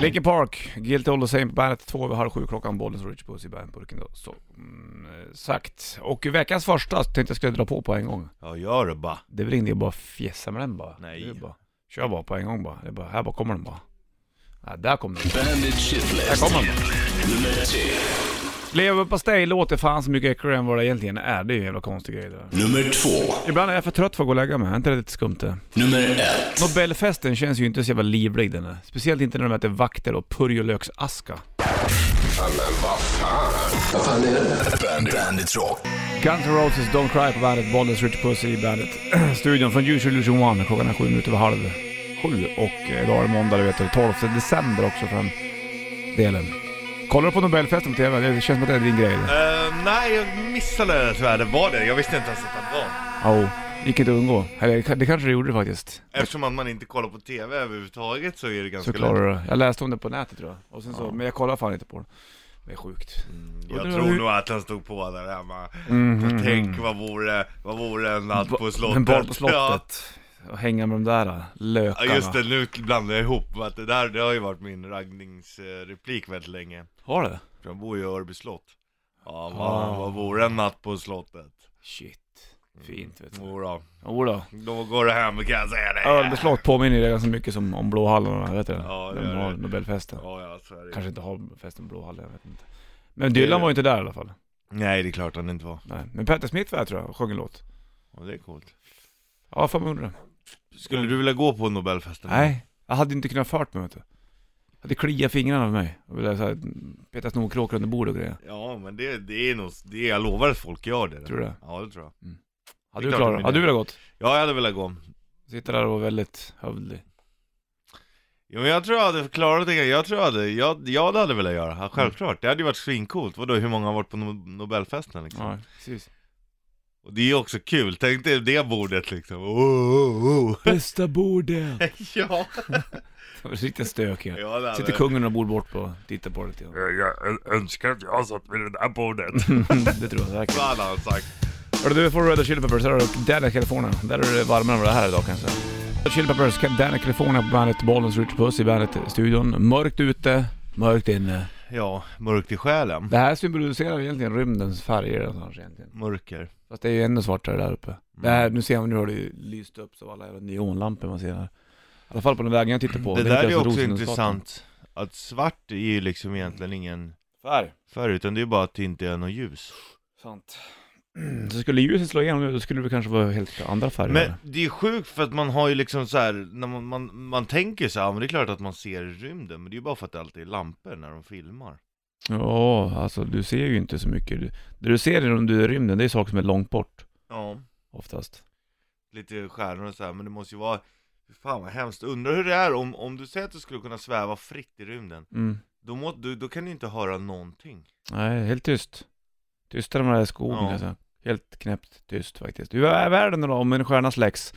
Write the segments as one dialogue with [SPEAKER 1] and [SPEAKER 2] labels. [SPEAKER 1] Linkin Park, Guilty All The Same på bandet, två över halv sju klockan, Bollens och Rich Puss i bandburken då. Så, mm, eh, sagt. Och veckans första tänkte jag skulle dra på på en gång.
[SPEAKER 2] Ja, gör det bara.
[SPEAKER 1] Det är väl ingen idé att bara fjäsa med den bara?
[SPEAKER 2] Nej.
[SPEAKER 1] Det är bara, kör bara på en gång bara. Det är bara här bara kommer den bara. Ja, där kom den.
[SPEAKER 3] Bandit
[SPEAKER 1] Där
[SPEAKER 3] Shitlist.
[SPEAKER 1] kom den.
[SPEAKER 3] Nummer 10.
[SPEAKER 1] Leverpastej låter fan så mycket äckligare än vad det egentligen är. Det är ju en jävla konstig grej det där.
[SPEAKER 3] Nummer 2.
[SPEAKER 1] Ibland är jag för trött för att gå och lägga mig. Är inte det lite skumt det?
[SPEAKER 3] Nummer 1.
[SPEAKER 1] Nobelfesten känns ju inte så jävla livlig den är. Speciellt inte när de äter vakter och purjolöksaska.
[SPEAKER 3] Bandit. Bandit Rock.
[SPEAKER 1] Guns N' Roses Don't Cry på bandet, Bollens Rich Puss i bandet. Studion från Usual Illusion 1, klockan är sju minuter över halv sju. Och eh, idag är det måndag, det vet du. 12 december också för den delen. Kollar du på Nobelfesten på TV? Det känns som att det är din grej. det.
[SPEAKER 2] Eh, nej, jag missade det tyvärr. Det var det. Jag visste inte ens att det var.
[SPEAKER 1] Ja, oh, gick inte att undgå. Eller det kanske det gjorde faktiskt.
[SPEAKER 2] Eftersom att man inte kollar på TV överhuvudtaget så är det ganska
[SPEAKER 1] Så klarar du det. Jag läste om det på nätet tror jag. Och sen så, Men jag kollar fan inte på det. Det är sjukt.
[SPEAKER 2] Jag tror nog att han stod på där hemma.
[SPEAKER 1] Mhm.
[SPEAKER 2] För Mm-hmm. tänk vad vore, vad vore en natt på slottet?
[SPEAKER 1] En boll på
[SPEAKER 2] Ja.
[SPEAKER 1] slottet. Och hänga med de där äh,
[SPEAKER 2] Ja
[SPEAKER 1] lökarna.
[SPEAKER 2] just det, nu blandar jag ihop att det där, det har ju varit min raggningsreplik väldigt länge.
[SPEAKER 1] Har du?
[SPEAKER 2] För han bor ju i Örby slott. Ja, vad,
[SPEAKER 1] Ah.
[SPEAKER 2] vad vore en natt på slottet?
[SPEAKER 1] Shit.
[SPEAKER 2] Mm.
[SPEAKER 1] Fint vet du.
[SPEAKER 2] Jodå,
[SPEAKER 1] Jodå.
[SPEAKER 2] då går det hem kan jag säga dig.
[SPEAKER 1] Ölbeslott påminner ju ganska mycket som om Blåhallarna, vet du
[SPEAKER 2] Ja, det
[SPEAKER 1] När man
[SPEAKER 2] gör
[SPEAKER 1] har
[SPEAKER 2] det.
[SPEAKER 1] Nobelfesten.
[SPEAKER 2] Ja, ja, så är det.
[SPEAKER 1] Kanske inte har festen på Blåhallen, jag vet inte. Men
[SPEAKER 2] Det-
[SPEAKER 1] Dylan var ju inte där i alla fall.
[SPEAKER 2] Nej, det är klart han inte var.
[SPEAKER 1] Nej. Men Petter Smith var där tror jag, och sjöng en låt.
[SPEAKER 2] Ja, det är coolt.
[SPEAKER 1] Ja, fan vad undrar.
[SPEAKER 2] Mm. Skulle du vilja gå på Nobelfesten?
[SPEAKER 1] Nej, jag hade inte kunnat fört mig vet du. Jag hade kliat fingrarna av mig. Jag ville såhär peta snorkråkor under bordet och grejer.
[SPEAKER 2] Ja, men det, det är nog, det, jag lovar att folk gör det.
[SPEAKER 1] Tror du det?
[SPEAKER 2] Ja, det tror jag.
[SPEAKER 1] Hade
[SPEAKER 2] Det är
[SPEAKER 1] du
[SPEAKER 2] klart
[SPEAKER 1] klarat
[SPEAKER 2] de är
[SPEAKER 1] Hade du
[SPEAKER 2] det.
[SPEAKER 1] velat gått?
[SPEAKER 2] Ja, jag hade velat gå.
[SPEAKER 1] Sitta där och vara väldigt hövlig.
[SPEAKER 2] Jo, men jag tror jag hade klarat det. Jag tror jag hade, jag, jag hade velat göra. Ja, självklart. Det hade ju varit svincoolt. Vadå, hur många har varit på no Nobelfesten liksom?
[SPEAKER 1] Ja, precis.
[SPEAKER 2] Och det är ju också kul. Tänk dig det bordet liksom. Oh, oh, oh.
[SPEAKER 1] Bästa bordet!
[SPEAKER 2] ja.
[SPEAKER 1] Riktigt stök här.
[SPEAKER 2] ja det hade-
[SPEAKER 1] Sitter kungen och bor bort på och tittar på det lite grann.
[SPEAKER 4] Jag, jag önskar att jag har satt vid det där bordet.
[SPEAKER 1] Det tror jag säkert.
[SPEAKER 2] Så hade han sagt.
[SPEAKER 1] Hörru du, får Red Hot Chili Peppers, här har du Danny California. Där är det varmare än vad det här är idag kanske. Red Hot Chili Peppers, Danny California på bandet, Bollens Rich Puss i bandet-studion. Mörkt ute, mörkt inne.
[SPEAKER 2] Ja, mörkt i själen.
[SPEAKER 1] Det här symboliserar egentligen rymdens färger någonstans egentligen.
[SPEAKER 2] Mörker.
[SPEAKER 1] Fast det är ju ännu svartare där uppe. Det här, nu ser man, nu har det ju lyst upp så alla jävla neonlampor man ser här. I alla fall på den vägen jag tittar på.
[SPEAKER 2] det
[SPEAKER 1] lite
[SPEAKER 2] där är ju
[SPEAKER 1] som
[SPEAKER 2] också
[SPEAKER 1] Rosengatan.
[SPEAKER 2] intressant. Att svart är ju liksom egentligen ingen
[SPEAKER 1] Färg.
[SPEAKER 2] färg, utan det är bara att det inte är något ljus.
[SPEAKER 1] Sant. Så skulle ljuset slå igenom nu, då skulle det kanske vara helt andra färger.
[SPEAKER 2] Men det är sjukt för att man har ju liksom så här, när man, man, man tänker så här, "Ja, men det är klart att man ser rymden, men det är ju bara för att det alltid är lampor när de filmar.
[SPEAKER 1] Ja, alltså du ser ju inte så mycket. Du- Det du ser om du är i rymden, det är saker som är långt bort
[SPEAKER 2] Ja.
[SPEAKER 1] oftast.
[SPEAKER 2] Lite stjärnor och så här, men det måste ju vara, fan vad hemskt. Undrar hur det är om, om du säger att du skulle kunna sväva fritt i rymden,
[SPEAKER 1] Mm.
[SPEAKER 2] då, må, du, då kan du inte höra någonting.
[SPEAKER 1] Nej, helt tyst. Tystare än den där skogen
[SPEAKER 2] Ja.
[SPEAKER 1] alltså. Helt knäppt tyst faktiskt. Hur är världen då om en stjärna släcks?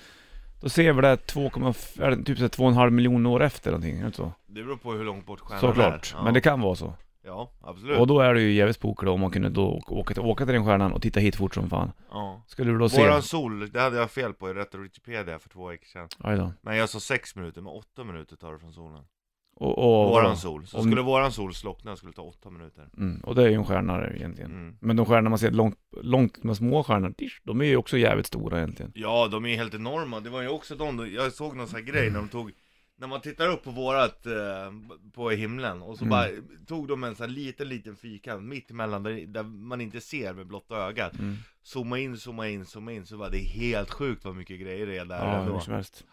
[SPEAKER 1] Då ser vi det 2,5, eller typ så här 2,5 miljoner år efter någonting, är det inte så?
[SPEAKER 2] Det beror på hur långt bort stjärnan är.
[SPEAKER 1] Såklart,
[SPEAKER 2] Ja.
[SPEAKER 1] men det kan vara så.
[SPEAKER 2] Ja, absolut.
[SPEAKER 1] Och då är det ju jävligt spooky då om man kunde då åka till, åka till den stjärnan och titta hit fort som fan.
[SPEAKER 2] Ja.
[SPEAKER 1] Skulle du då se...
[SPEAKER 2] Våran sol, det hade jag fel på i Retorikipedia för två veckor sedan.
[SPEAKER 1] Aj då.
[SPEAKER 2] Men jag sa sex minuter, men åtta minuter tar det från solen.
[SPEAKER 1] Och, och,
[SPEAKER 2] Våran sol. Så
[SPEAKER 1] Om-
[SPEAKER 2] skulle våran sol slockna skulle det ta åtta minuter.
[SPEAKER 1] Mm, och det är ju en stjärna det egentligen.
[SPEAKER 2] Mm.
[SPEAKER 1] Men de stjärnor man ser långt, långt med små stjärnor, dish, de är ju också jävligt stora egentligen.
[SPEAKER 2] Ja, de är ju helt enorma. Det var ju också de, jag såg någon sån här grej när de tog när man tittar upp på vårat, eh, på himlen och så
[SPEAKER 1] Mm.
[SPEAKER 2] bara tog de en sån här liten, liten fyrkant mitt emellan där, där man inte ser med blotta ögat
[SPEAKER 1] Mm.
[SPEAKER 2] Zooma in, zooma in, zooma in, så bara det är helt sjukt vad mycket grejer det är där
[SPEAKER 1] Ja, hur
[SPEAKER 2] ändå
[SPEAKER 1] som helst.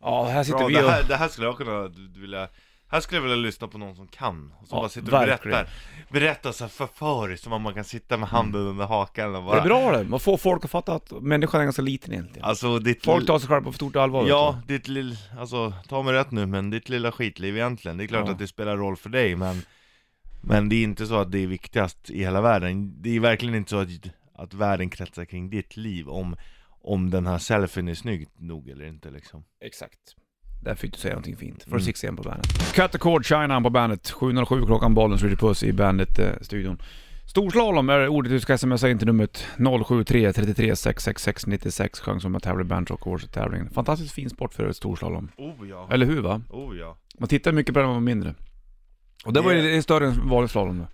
[SPEAKER 1] Ja, här sitter
[SPEAKER 2] Bra,
[SPEAKER 1] vi och...
[SPEAKER 2] det, här, det här skulle jag kunna vilja här skulle jag vilja lyssna på någon som kan, och som
[SPEAKER 1] Ja,
[SPEAKER 2] bara sitter och
[SPEAKER 1] verkligen.
[SPEAKER 2] berättar Berättar så här förföriskt, som om man kan sitta med handen under hakan och
[SPEAKER 1] Det Mm. är
[SPEAKER 2] bara
[SPEAKER 1] bra det, man får folk att fatta att människan är ganska liten egentligen.
[SPEAKER 2] Alltså ditt
[SPEAKER 1] Folk tar sig själva på stort allvar. vet
[SPEAKER 2] Ja, ditt lill, alltså ta mig rätt nu men ditt lilla skitliv egentligen, det är klart
[SPEAKER 1] Ja.
[SPEAKER 2] att det spelar roll för dig men Men det är inte så att det är viktigast i hela världen, det är verkligen inte så att, att världen kretsar kring ditt liv om om den här selfien är snygg nog eller inte liksom
[SPEAKER 1] du. Exakt. Där fick du säga någonting fint. För
[SPEAKER 2] Mm.
[SPEAKER 1] six igen på bandet. Cut the cord, China på bandet. 7.07 klockan, bollen, Ritchie Puss i bandet-studion. Storslalom är ordet du ska smsa in till numret 073 33 666 96 chans om att tävla i Bandrock Awards tävlingen. Fantastiskt fin sport för ett storslalom.
[SPEAKER 2] Oh ja.
[SPEAKER 1] Eller hur va?
[SPEAKER 2] Oh ja.
[SPEAKER 1] Man tittar mycket på den man var mindre. Och det var ju
[SPEAKER 2] Det-
[SPEAKER 1] det är större än vanlig slalom då.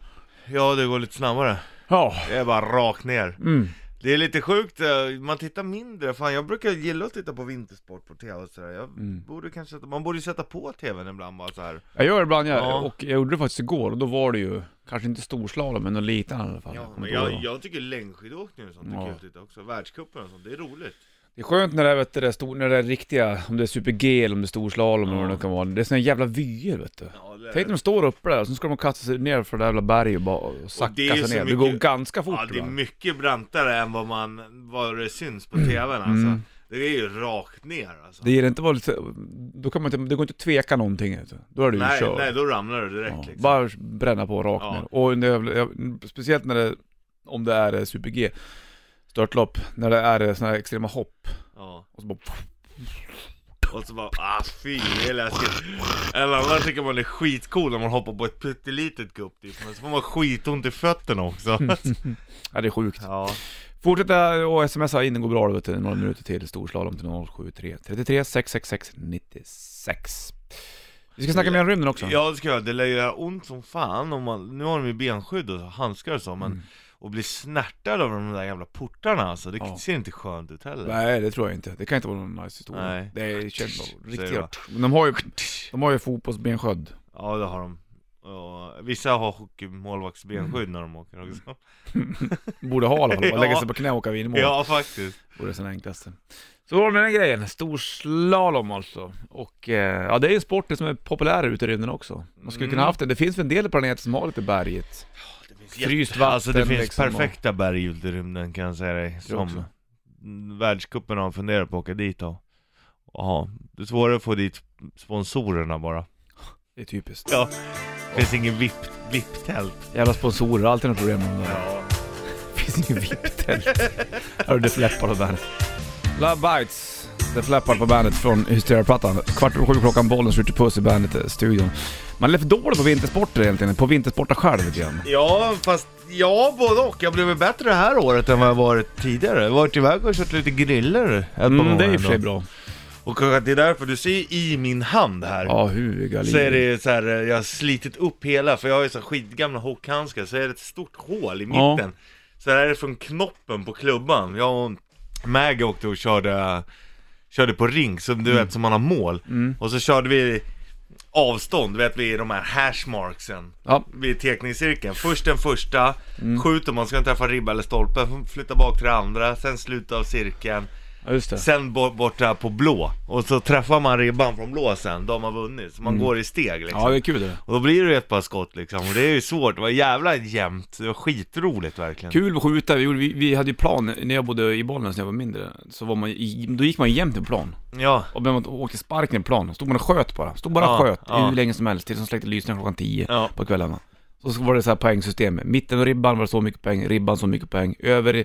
[SPEAKER 2] Ja, det går lite snabbare.
[SPEAKER 1] Ja.
[SPEAKER 2] Det är bara rakt ner.
[SPEAKER 1] Mm.
[SPEAKER 2] Det är lite sjukt, eh, man tittar mindre. Fan, jag brukar gilla att titta på vintersport på tv och sådär. Jag
[SPEAKER 1] Mm.
[SPEAKER 2] borde kanske, sätta- man borde ju sätta på tvn ibland bara så här.
[SPEAKER 1] Jag gör det ibland jag,
[SPEAKER 2] Ja.
[SPEAKER 1] och jag gjorde det faktiskt igår och då var det ju kanske inte storslalom men något litet i alla fall.
[SPEAKER 2] Ja,
[SPEAKER 1] Kommer
[SPEAKER 2] men
[SPEAKER 1] inte ihåg
[SPEAKER 2] jag,
[SPEAKER 1] vad det var.
[SPEAKER 2] jag tycker längdskidåkning och sånt är
[SPEAKER 1] Ja.
[SPEAKER 2] kul att titta också. Världscupen och sånt, det är roligt.
[SPEAKER 1] Det är skönt när det är, vet du, det är stor, när det är riktiga, om det är super-G eller om det är storslalom eller vad det nu kan vara. Det är såna jävla vyer vet du.
[SPEAKER 2] Ja, det är-
[SPEAKER 1] Tänk när de står uppe där och så ska de kasta sig ner för det där jävla berget och bara och sacka
[SPEAKER 2] det är
[SPEAKER 1] sig
[SPEAKER 2] så
[SPEAKER 1] ner. Det
[SPEAKER 2] mycket-
[SPEAKER 1] går ganska fort
[SPEAKER 2] Ja, det är
[SPEAKER 1] va? Mm.
[SPEAKER 2] mycket brantare än vad man, vad det syns på tvn alltså. Det är ju rakt ner alltså.
[SPEAKER 1] Det ger inte vara lite, då kan man inte, det går inte att tveka någonting vet du. Då är du ju
[SPEAKER 2] nej,
[SPEAKER 1] körd.
[SPEAKER 2] nej, då ramlar du direkt
[SPEAKER 1] Ja,
[SPEAKER 2] liksom.
[SPEAKER 1] Bara bränna på rakt
[SPEAKER 2] Ja.
[SPEAKER 1] ner. Och när jag, jag, speciellt när det, om det är eh, super-G, störtlopp, när det är eh, såna här extrema hopp.
[SPEAKER 2] Ja.
[SPEAKER 1] Och så bara,
[SPEAKER 2] Och så bara, ah fy, det är läskigt. Eller annars tycker man det är skitcool när man hoppar på ett pyttelitet gupp typ. Men så får man skitont i fötterna också.
[SPEAKER 1] ja, det är sjukt.
[SPEAKER 2] ja.
[SPEAKER 1] Fortsätta och smsa in, det går bra du vet du, några minuter till. Storslalom till 073 33 666 96. Vi ska snacka mer om rymden också.
[SPEAKER 2] ja, det ska jag. Det lär ju göra ont som fan om man, nu har de ju benskydd och handskar och så men
[SPEAKER 1] Mm.
[SPEAKER 2] Och bli snärtad av de där jävla portarna alltså, det
[SPEAKER 1] Ja.
[SPEAKER 2] ser inte skönt ut heller.
[SPEAKER 1] Nej, det tror jag inte. Det kan inte vara någon nice historia.
[SPEAKER 2] Nej.
[SPEAKER 1] Det är känns bara
[SPEAKER 2] Säger jag.
[SPEAKER 1] riktigt Men de har ju, de har ju fotbollsbensködd.
[SPEAKER 2] Ja det har de. Ja, vissa har hockeymålvaktsbenskydd när de åker också.
[SPEAKER 1] Borde ha i alla fall. Bara lägga
[SPEAKER 2] Ja.
[SPEAKER 1] sig på knä och åka vinmål.
[SPEAKER 2] Ja faktiskt.
[SPEAKER 1] Vore den enklaste. Så var det med den grejen. Storslalom alltså. Och eh, ja, det är ju en sport som är populär ute i rymden också. Man skulle
[SPEAKER 2] Mm.
[SPEAKER 1] kunna haft det. Det finns väl en del planeter som har lite berget. Fryst vatten
[SPEAKER 2] Alltså det finns
[SPEAKER 1] liksom, och-
[SPEAKER 2] perfekta berg ute i rymden kan jag säga dig. Som
[SPEAKER 1] också.
[SPEAKER 2] världscupen har funderat på att åka dit och Ja, det är svårare att få dit sponsorerna bara.
[SPEAKER 1] Det är typiskt.
[SPEAKER 2] Ja. Det finns ingen VIP- VIP-tält.
[SPEAKER 1] Jävla sponsorer, alltid något problem med de där.
[SPEAKER 2] Ja.
[SPEAKER 1] finns ingen VIP-tält. Hörru, det fläppar på bandet. Love Bites, det fläppar på bandet från Hysteria-plattan. Kvart över sju klockan, bollen skjuter puss i bandet-studion. Man är för dålig på vintersporter egentligen, på vintersportar själv lite grann.
[SPEAKER 2] ja, fast ja, både och. Jag blev bättre det här året än vad jag varit tidigare. Jag har varit iväg och kört lite griller ett par
[SPEAKER 1] Mm, det är i
[SPEAKER 2] gånger
[SPEAKER 1] och för sig
[SPEAKER 2] ändå.
[SPEAKER 1] bra.
[SPEAKER 2] Och kanske att det är därför du ser i min hand här.
[SPEAKER 1] Ja, huvuga
[SPEAKER 2] Så är
[SPEAKER 1] livet.
[SPEAKER 2] det så här, eh, jag har slitit upp hela, för jag har ju så här skitgamla hockeyhandskar, så är det ett stort hål i mitten.
[SPEAKER 1] Ja.
[SPEAKER 2] Så här är det från knoppen på klubban. Jag och Maggie åkte och körde, körde på rink, som
[SPEAKER 1] Mm.
[SPEAKER 2] du vet, som man har mål. Och så körde vi avstånd, du vet vid de här hashmarksen.
[SPEAKER 1] Ja, Mm.
[SPEAKER 2] Vid teckningscirkeln. Först den första, skjuter man, ska inte träffa ribba eller stolpe, flytta bak till det andra, sen slut av cirkeln.
[SPEAKER 1] ja, just det.
[SPEAKER 2] Sen bo- borta på blå, och så träffar man ribban från blå sen, då har man vunnit. Så man går i steg liksom.
[SPEAKER 1] Mm. Ja, det är kul det.
[SPEAKER 2] Och då blir det ju ett par skott liksom, och det är ju svårt, det var jävla jämnt, det var skitroligt verkligen
[SPEAKER 1] Kul att skjuta, vi, gjorde- vi, vi hade ju plan när jag bodde i Bollnäs när jag var mindre. Så var man, i- då gick man jämt i plan.
[SPEAKER 2] Ja,
[SPEAKER 1] Och man åkte sparken i plan, stod man och sköt bara. Stod bara och
[SPEAKER 2] Ja,
[SPEAKER 1] sköt
[SPEAKER 2] ja.
[SPEAKER 1] hur länge som helst tills de släckte lysningarna klockan 10
[SPEAKER 2] Ja.
[SPEAKER 1] på kvällarna. Så så var det så här poängsystem. Mitten av ribban var det så mycket poäng, ribban så mycket poäng, över i-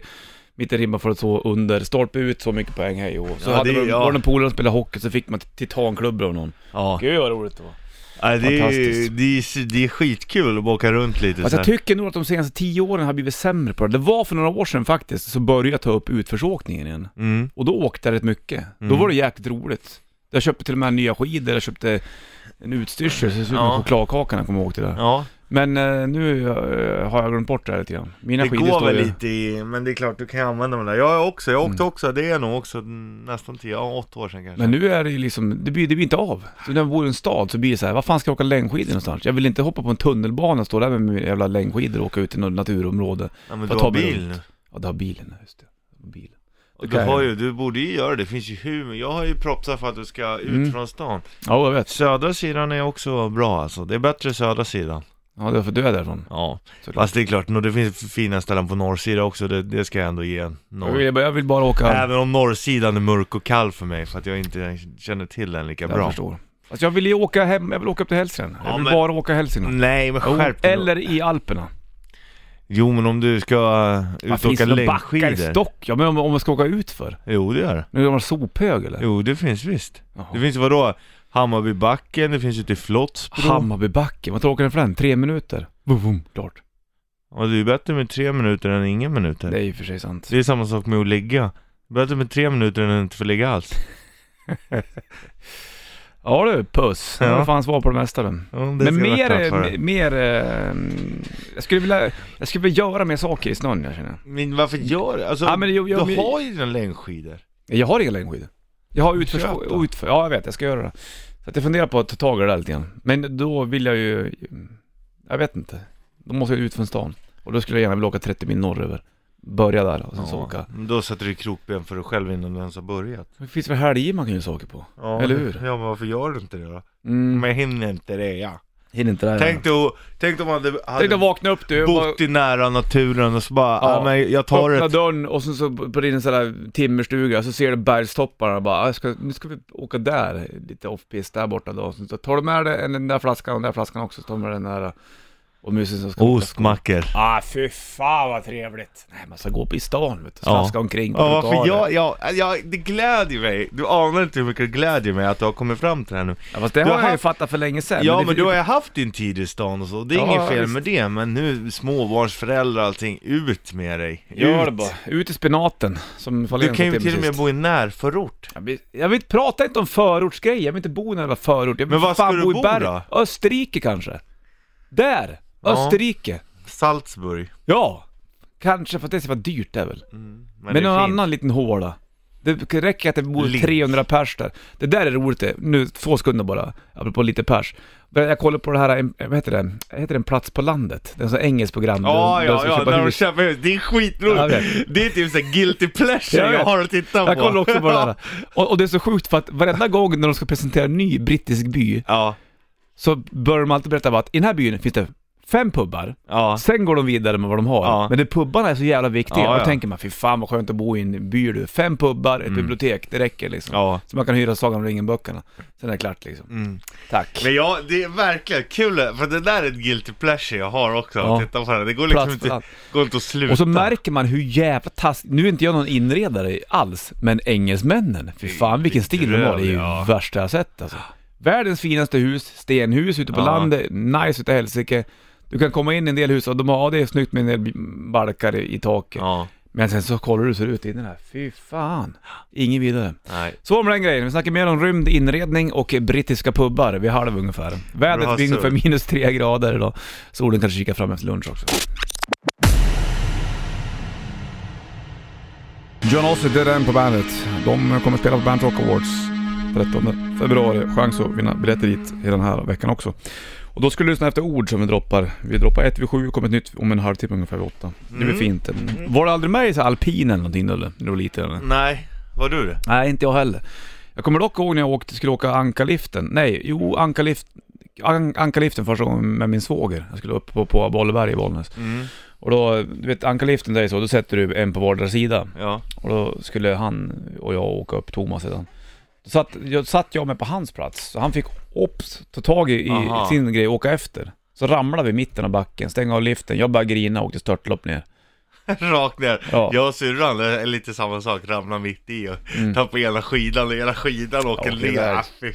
[SPEAKER 1] mitten ribban får det så under, stolpe ut så mycket poäng, hej och hå. Så
[SPEAKER 2] Ja,
[SPEAKER 1] hade
[SPEAKER 2] det-
[SPEAKER 1] man,
[SPEAKER 2] ja.
[SPEAKER 1] var det en polare som spelade hockey så fick man titanklubbor av någon.
[SPEAKER 2] ja.
[SPEAKER 1] Gud vad roligt det var.
[SPEAKER 2] ja det, är, ju-
[SPEAKER 1] Fantastiskt.
[SPEAKER 2] det, är, det är skitkul att åka runt lite
[SPEAKER 1] Alltså
[SPEAKER 2] så
[SPEAKER 1] jag
[SPEAKER 2] här.
[SPEAKER 1] tycker nog att de senaste tio åren har blivit sämre på det. Det var för några år sedan faktiskt, så började jag ta upp utförsåkningen igen.
[SPEAKER 2] mm.
[SPEAKER 1] Och då åkte jag rätt mycket. Då var det jäkligt roligt. Jag köpte till och med nya skidor, jag köpte en utstyrsel, så det såg ut som
[SPEAKER 2] Ja.
[SPEAKER 1] chokladkakan jag kommer ihåg till det.
[SPEAKER 2] Ja,
[SPEAKER 1] Men eh, nu eh, har jag glömt bort det här lite grann. Mina
[SPEAKER 2] det
[SPEAKER 1] skidor
[SPEAKER 2] går
[SPEAKER 1] står
[SPEAKER 2] väl
[SPEAKER 1] ju...
[SPEAKER 2] lite i, men det är klart du kan använda dem där. Jag är också, jag åkte också, det är nog också nästan 10, ja 8 år sedan kanske.
[SPEAKER 1] Mm. Men nu är det ju liksom, det blir, det blir inte av. Så när jag bor i en stad så blir det så här, vad fan ska jag åka längdskidor någonstans? Jag vill inte hoppa på en tunnelbana och stå där med mina jävla längdskidor och åka ut i något naturområde.
[SPEAKER 2] ja, men
[SPEAKER 1] får
[SPEAKER 2] du
[SPEAKER 1] ta
[SPEAKER 2] har
[SPEAKER 1] mig
[SPEAKER 2] bil
[SPEAKER 1] runt.
[SPEAKER 2] nu.
[SPEAKER 1] Ja, det har bilen, just det. Bilen.
[SPEAKER 2] Och
[SPEAKER 1] Det
[SPEAKER 2] Du,
[SPEAKER 1] kan
[SPEAKER 2] har
[SPEAKER 1] jag.
[SPEAKER 2] ju, du borde ju göra det, det finns ju humor. Jag har ju propsat för att du ska ut
[SPEAKER 1] Mm.
[SPEAKER 2] från stan.
[SPEAKER 1] Ja, jag vet.
[SPEAKER 2] Södra sidan är också bra alltså, det är bättre södra sidan.
[SPEAKER 1] Ja, det är för du är därifrån.
[SPEAKER 2] Ja,
[SPEAKER 1] Såklart.
[SPEAKER 2] fast det är klart, nå, det finns fina ställen på norrsidan också, det, det ska jag ändå ge en
[SPEAKER 1] Jag
[SPEAKER 2] norr.
[SPEAKER 1] vill, jag vill bara åka...
[SPEAKER 2] Även om norrsidan är mörk och kall för mig, för att jag inte känner till den lika
[SPEAKER 1] jag
[SPEAKER 2] bra.
[SPEAKER 1] förstår. Fast jag vill ju åka hem, jag vill åka upp till Hälsingland. Jag
[SPEAKER 2] Ja,
[SPEAKER 1] vill
[SPEAKER 2] men-
[SPEAKER 1] bara åka Hälsingland.
[SPEAKER 2] Nej men
[SPEAKER 1] Jo,
[SPEAKER 2] skärp dig nu.
[SPEAKER 1] eller i Alperna.
[SPEAKER 2] Jo men om du ska äh,
[SPEAKER 1] Vad
[SPEAKER 2] ut och
[SPEAKER 1] finns
[SPEAKER 2] åka
[SPEAKER 1] det för backar i
[SPEAKER 2] längdskidor.
[SPEAKER 1] Stock? Ja men om, om man ska åka ut för?
[SPEAKER 2] Jo det gör det.
[SPEAKER 1] Nu är man sophög eller?
[SPEAKER 2] Jo det finns visst.
[SPEAKER 1] Jaha.
[SPEAKER 2] Det finns vadå? Hammarbybacken, det finns ute i Flottsbro.
[SPEAKER 1] Hammarbybacken, vad tråkar den för den? Tre minuter? Boom, boom, klart.
[SPEAKER 2] Och det är ju bättre med tre minuter än ingen minuter.
[SPEAKER 1] Det är ju för sig sant.
[SPEAKER 2] Det är samma sak med att ligga. Det är Bättre med tre minuter än att inte få ligga alls.
[SPEAKER 1] Ja du, puss. Ja.
[SPEAKER 2] Ja.
[SPEAKER 1] Det fanns svar på det mesta du.
[SPEAKER 2] Ja, det
[SPEAKER 1] Men
[SPEAKER 2] ska jag
[SPEAKER 1] mer,
[SPEAKER 2] vara tacksam för.
[SPEAKER 1] eh, mer, eh, jag skulle vilja, jag skulle vilja göra mer saker i snön jag känner.
[SPEAKER 2] Men varför gör du? Alltså,
[SPEAKER 1] Ja, men jag- jag-
[SPEAKER 2] du har ju dina längdskidor.
[SPEAKER 1] Jag har inga längdskidor. Jag har
[SPEAKER 2] Köp
[SPEAKER 1] utför,
[SPEAKER 2] då.
[SPEAKER 1] utför, ja jag vet, jag ska göra det. Så att jag funderar på att ta tag i det där lite grann. Men då vill jag ju, jag vet inte. Då måste jag ut från stan. Och då skulle jag gärna vilja åka 30 mil norröver. Börja där och sen så åka.
[SPEAKER 2] Men Då sätter du krokben för dig själv innan du ens har börjat.
[SPEAKER 1] Det finns väl helger man kan göra saker på?
[SPEAKER 2] Ja,
[SPEAKER 1] Eller hur?
[SPEAKER 2] Ja, men varför gör du inte det då?
[SPEAKER 1] Mm,
[SPEAKER 2] Men jag hinner inte det, ja.
[SPEAKER 1] hinner inte där.
[SPEAKER 2] Tänk dig att- tänk om man hade,
[SPEAKER 1] Tänk dig
[SPEAKER 2] hade
[SPEAKER 1] att vakna upp du. bara-
[SPEAKER 2] bott i nära naturen och så bara,
[SPEAKER 1] Ja.
[SPEAKER 2] ja. men jag tar
[SPEAKER 1] Öppna
[SPEAKER 2] ett
[SPEAKER 1] dörren och sen så på din sån där timmerstuga så ser du bergstopparna och bara, "Ah, jag ska, nu ska vi åka där, lite off-piste där borta då. Så tar du med dig en- den där flaskan och den där flaskan också, så tar du med den där och musen som ska
[SPEAKER 2] ostmackor.
[SPEAKER 1] Ah fy fan vad trevligt! Nej man ska gå upp i stan vet du,
[SPEAKER 2] Ja.
[SPEAKER 1] slaska omkring på
[SPEAKER 2] Ja, varför
[SPEAKER 1] trottoarer.
[SPEAKER 2] jag, jag, jag, det glädjer mig. Du anar inte hur mycket det glädjer mig att du har kommit fram till det här nu.
[SPEAKER 1] Ja, fast det
[SPEAKER 2] Du
[SPEAKER 1] har
[SPEAKER 2] har
[SPEAKER 1] jag ju
[SPEAKER 2] haft-
[SPEAKER 1] fattat för länge sedan.
[SPEAKER 2] Ja
[SPEAKER 1] det-
[SPEAKER 2] men du har ju haft din tid i stan och så, det är
[SPEAKER 1] Ja,
[SPEAKER 2] inget fel
[SPEAKER 1] visst.
[SPEAKER 2] med det, men nu småbarnsföräldrar och allting, ut med dig! Ut.
[SPEAKER 1] Gör det bara, ut i spenaten som
[SPEAKER 2] Du
[SPEAKER 1] Fahlén
[SPEAKER 2] kan
[SPEAKER 1] sa
[SPEAKER 2] ju
[SPEAKER 1] till
[SPEAKER 2] till
[SPEAKER 1] mig
[SPEAKER 2] och med
[SPEAKER 1] sist.
[SPEAKER 2] bo i närförort!
[SPEAKER 1] Jag vill, jag vill inte prata inte om förortsgrejer, jag vill inte bo i någon jävla förort. Jag vill
[SPEAKER 2] Men var
[SPEAKER 1] fan
[SPEAKER 2] ska du
[SPEAKER 1] i
[SPEAKER 2] bo
[SPEAKER 1] berg.
[SPEAKER 2] då?
[SPEAKER 1] Österrike kanske. Där! Österrike.
[SPEAKER 2] Salzburg.
[SPEAKER 1] Ja! Kanske, för att det ska vara dyrt det är väl.
[SPEAKER 2] Men,
[SPEAKER 1] Men
[SPEAKER 2] det är
[SPEAKER 1] någon
[SPEAKER 2] fint.
[SPEAKER 1] annan liten håla. Det räcker att det bor
[SPEAKER 2] Lint.
[SPEAKER 1] 300 pers där. Det där är roligt det. Nu, två sekunder bara, apropå lite pers. Men Jag kollar på det här, eh, vad heter det? Heter det en plats på landet? Det är en sån engelsk program.
[SPEAKER 2] Ja,
[SPEAKER 1] där de
[SPEAKER 2] ja,
[SPEAKER 1] ska
[SPEAKER 2] ja,
[SPEAKER 1] köpa
[SPEAKER 2] när de
[SPEAKER 1] hus.
[SPEAKER 2] köper hus. Det är
[SPEAKER 1] Jag
[SPEAKER 2] skitroligt!
[SPEAKER 1] vet.
[SPEAKER 2] det är typ såhär guilty pleasure
[SPEAKER 1] Jag
[SPEAKER 2] jag,
[SPEAKER 1] vet.
[SPEAKER 2] har att titta på.
[SPEAKER 1] Jag kollar också på det där. Och, och det är så sjukt för att varenda gång när de ska presentera en ny brittisk by,
[SPEAKER 2] Ja,
[SPEAKER 1] så börjar de alltid berätta om att i den här byn finns det fem pubbar,
[SPEAKER 2] ja.
[SPEAKER 1] sen går de vidare med vad de har.
[SPEAKER 2] Ja.
[SPEAKER 1] Men det pubbarna är så jävla viktiga,
[SPEAKER 2] Ja,
[SPEAKER 1] och då
[SPEAKER 2] ja. Mm.
[SPEAKER 1] tänker man fy fan vad skönt att bo i en by du. Fem pubbar, ett bibliotek, det räcker liksom.
[SPEAKER 2] ja.
[SPEAKER 1] Så man kan hyra Sagan om ringen-böckerna. Sen är det klart liksom.
[SPEAKER 2] Mm.
[SPEAKER 1] Tack.
[SPEAKER 2] Men ja, det är verkligen kul, för det där är ett guilty pleasure jag har också,
[SPEAKER 1] Ja.
[SPEAKER 2] att titta på det. Det går liksom
[SPEAKER 1] Plats för
[SPEAKER 2] inte,
[SPEAKER 1] allt.
[SPEAKER 2] går inte att sluta.
[SPEAKER 1] Och så märker man hur jävla taskigt, nu är inte jag någon inredare alls, men engelsmännen, fy fan vilken stil de har, det är ju
[SPEAKER 2] Ja.
[SPEAKER 1] värsta jag har sett alltså. Världens finaste hus, stenhus ute på
[SPEAKER 2] Ja.
[SPEAKER 1] landet, nice utav helsike. Du kan komma in i en del hus och de har, ja det är snyggt med en del balkar i i taket.
[SPEAKER 2] Ja,
[SPEAKER 1] Men sen så kollar du hur det ser ut inne där, fy fan. Ingen vidare.
[SPEAKER 2] nej.
[SPEAKER 1] Så om den grejen, vi snackar mer om rymd, inredning och brittiska pubbar vid halv ungefär. Vädret
[SPEAKER 2] Bra,
[SPEAKER 1] blir
[SPEAKER 2] så.
[SPEAKER 1] ungefär minus tre grader idag. Solen kanske kikar fram efter lunch också. John Ossie, det är den på bandet. De kommer spela på Band Rock Awards 13 februari. Chans att vinna biljetter dit hela den här veckan också. Och då ska du lyssna efter ord som vi droppar. Vi droppar ett vid sju, kommer ett nytt om en halvtimme ungefär vid åtta. Det blir fint. Var du aldrig med i så här alpin eller någonting eller? När du var liten eller?
[SPEAKER 2] Nej, var du det?
[SPEAKER 1] Nej, inte jag heller. Jag kommer dock ihåg när jag åkte, skulle åka Ankarliften. Nej, jo Ankarlift, an, Ankarliften första gången med min svåger. Jag skulle upp på, på Bolleberg i Bollnäs. Och då, du vet Ankarliften, det är så, då sätter du en på vardera sida.
[SPEAKER 2] Ja.
[SPEAKER 1] Och då skulle han och jag åka upp, Thomas sedan. Då satt jag, satt jag med på hans plats, så han fick ops, ta tag i, i
[SPEAKER 2] Aha.
[SPEAKER 1] sin grej och åka efter. Så ramlade vi i mitten av backen, stängde av liften, jag började grina och åkte störtlopp ner.
[SPEAKER 2] Rakt ner.
[SPEAKER 1] Ja.
[SPEAKER 2] Jag och syrran, det är lite samma sak, ramlar mitt i och tappar ena skidan och ena skidan åker
[SPEAKER 1] Mm. Ja, det är
[SPEAKER 2] ner.
[SPEAKER 1] väl.
[SPEAKER 2] Ah, fy.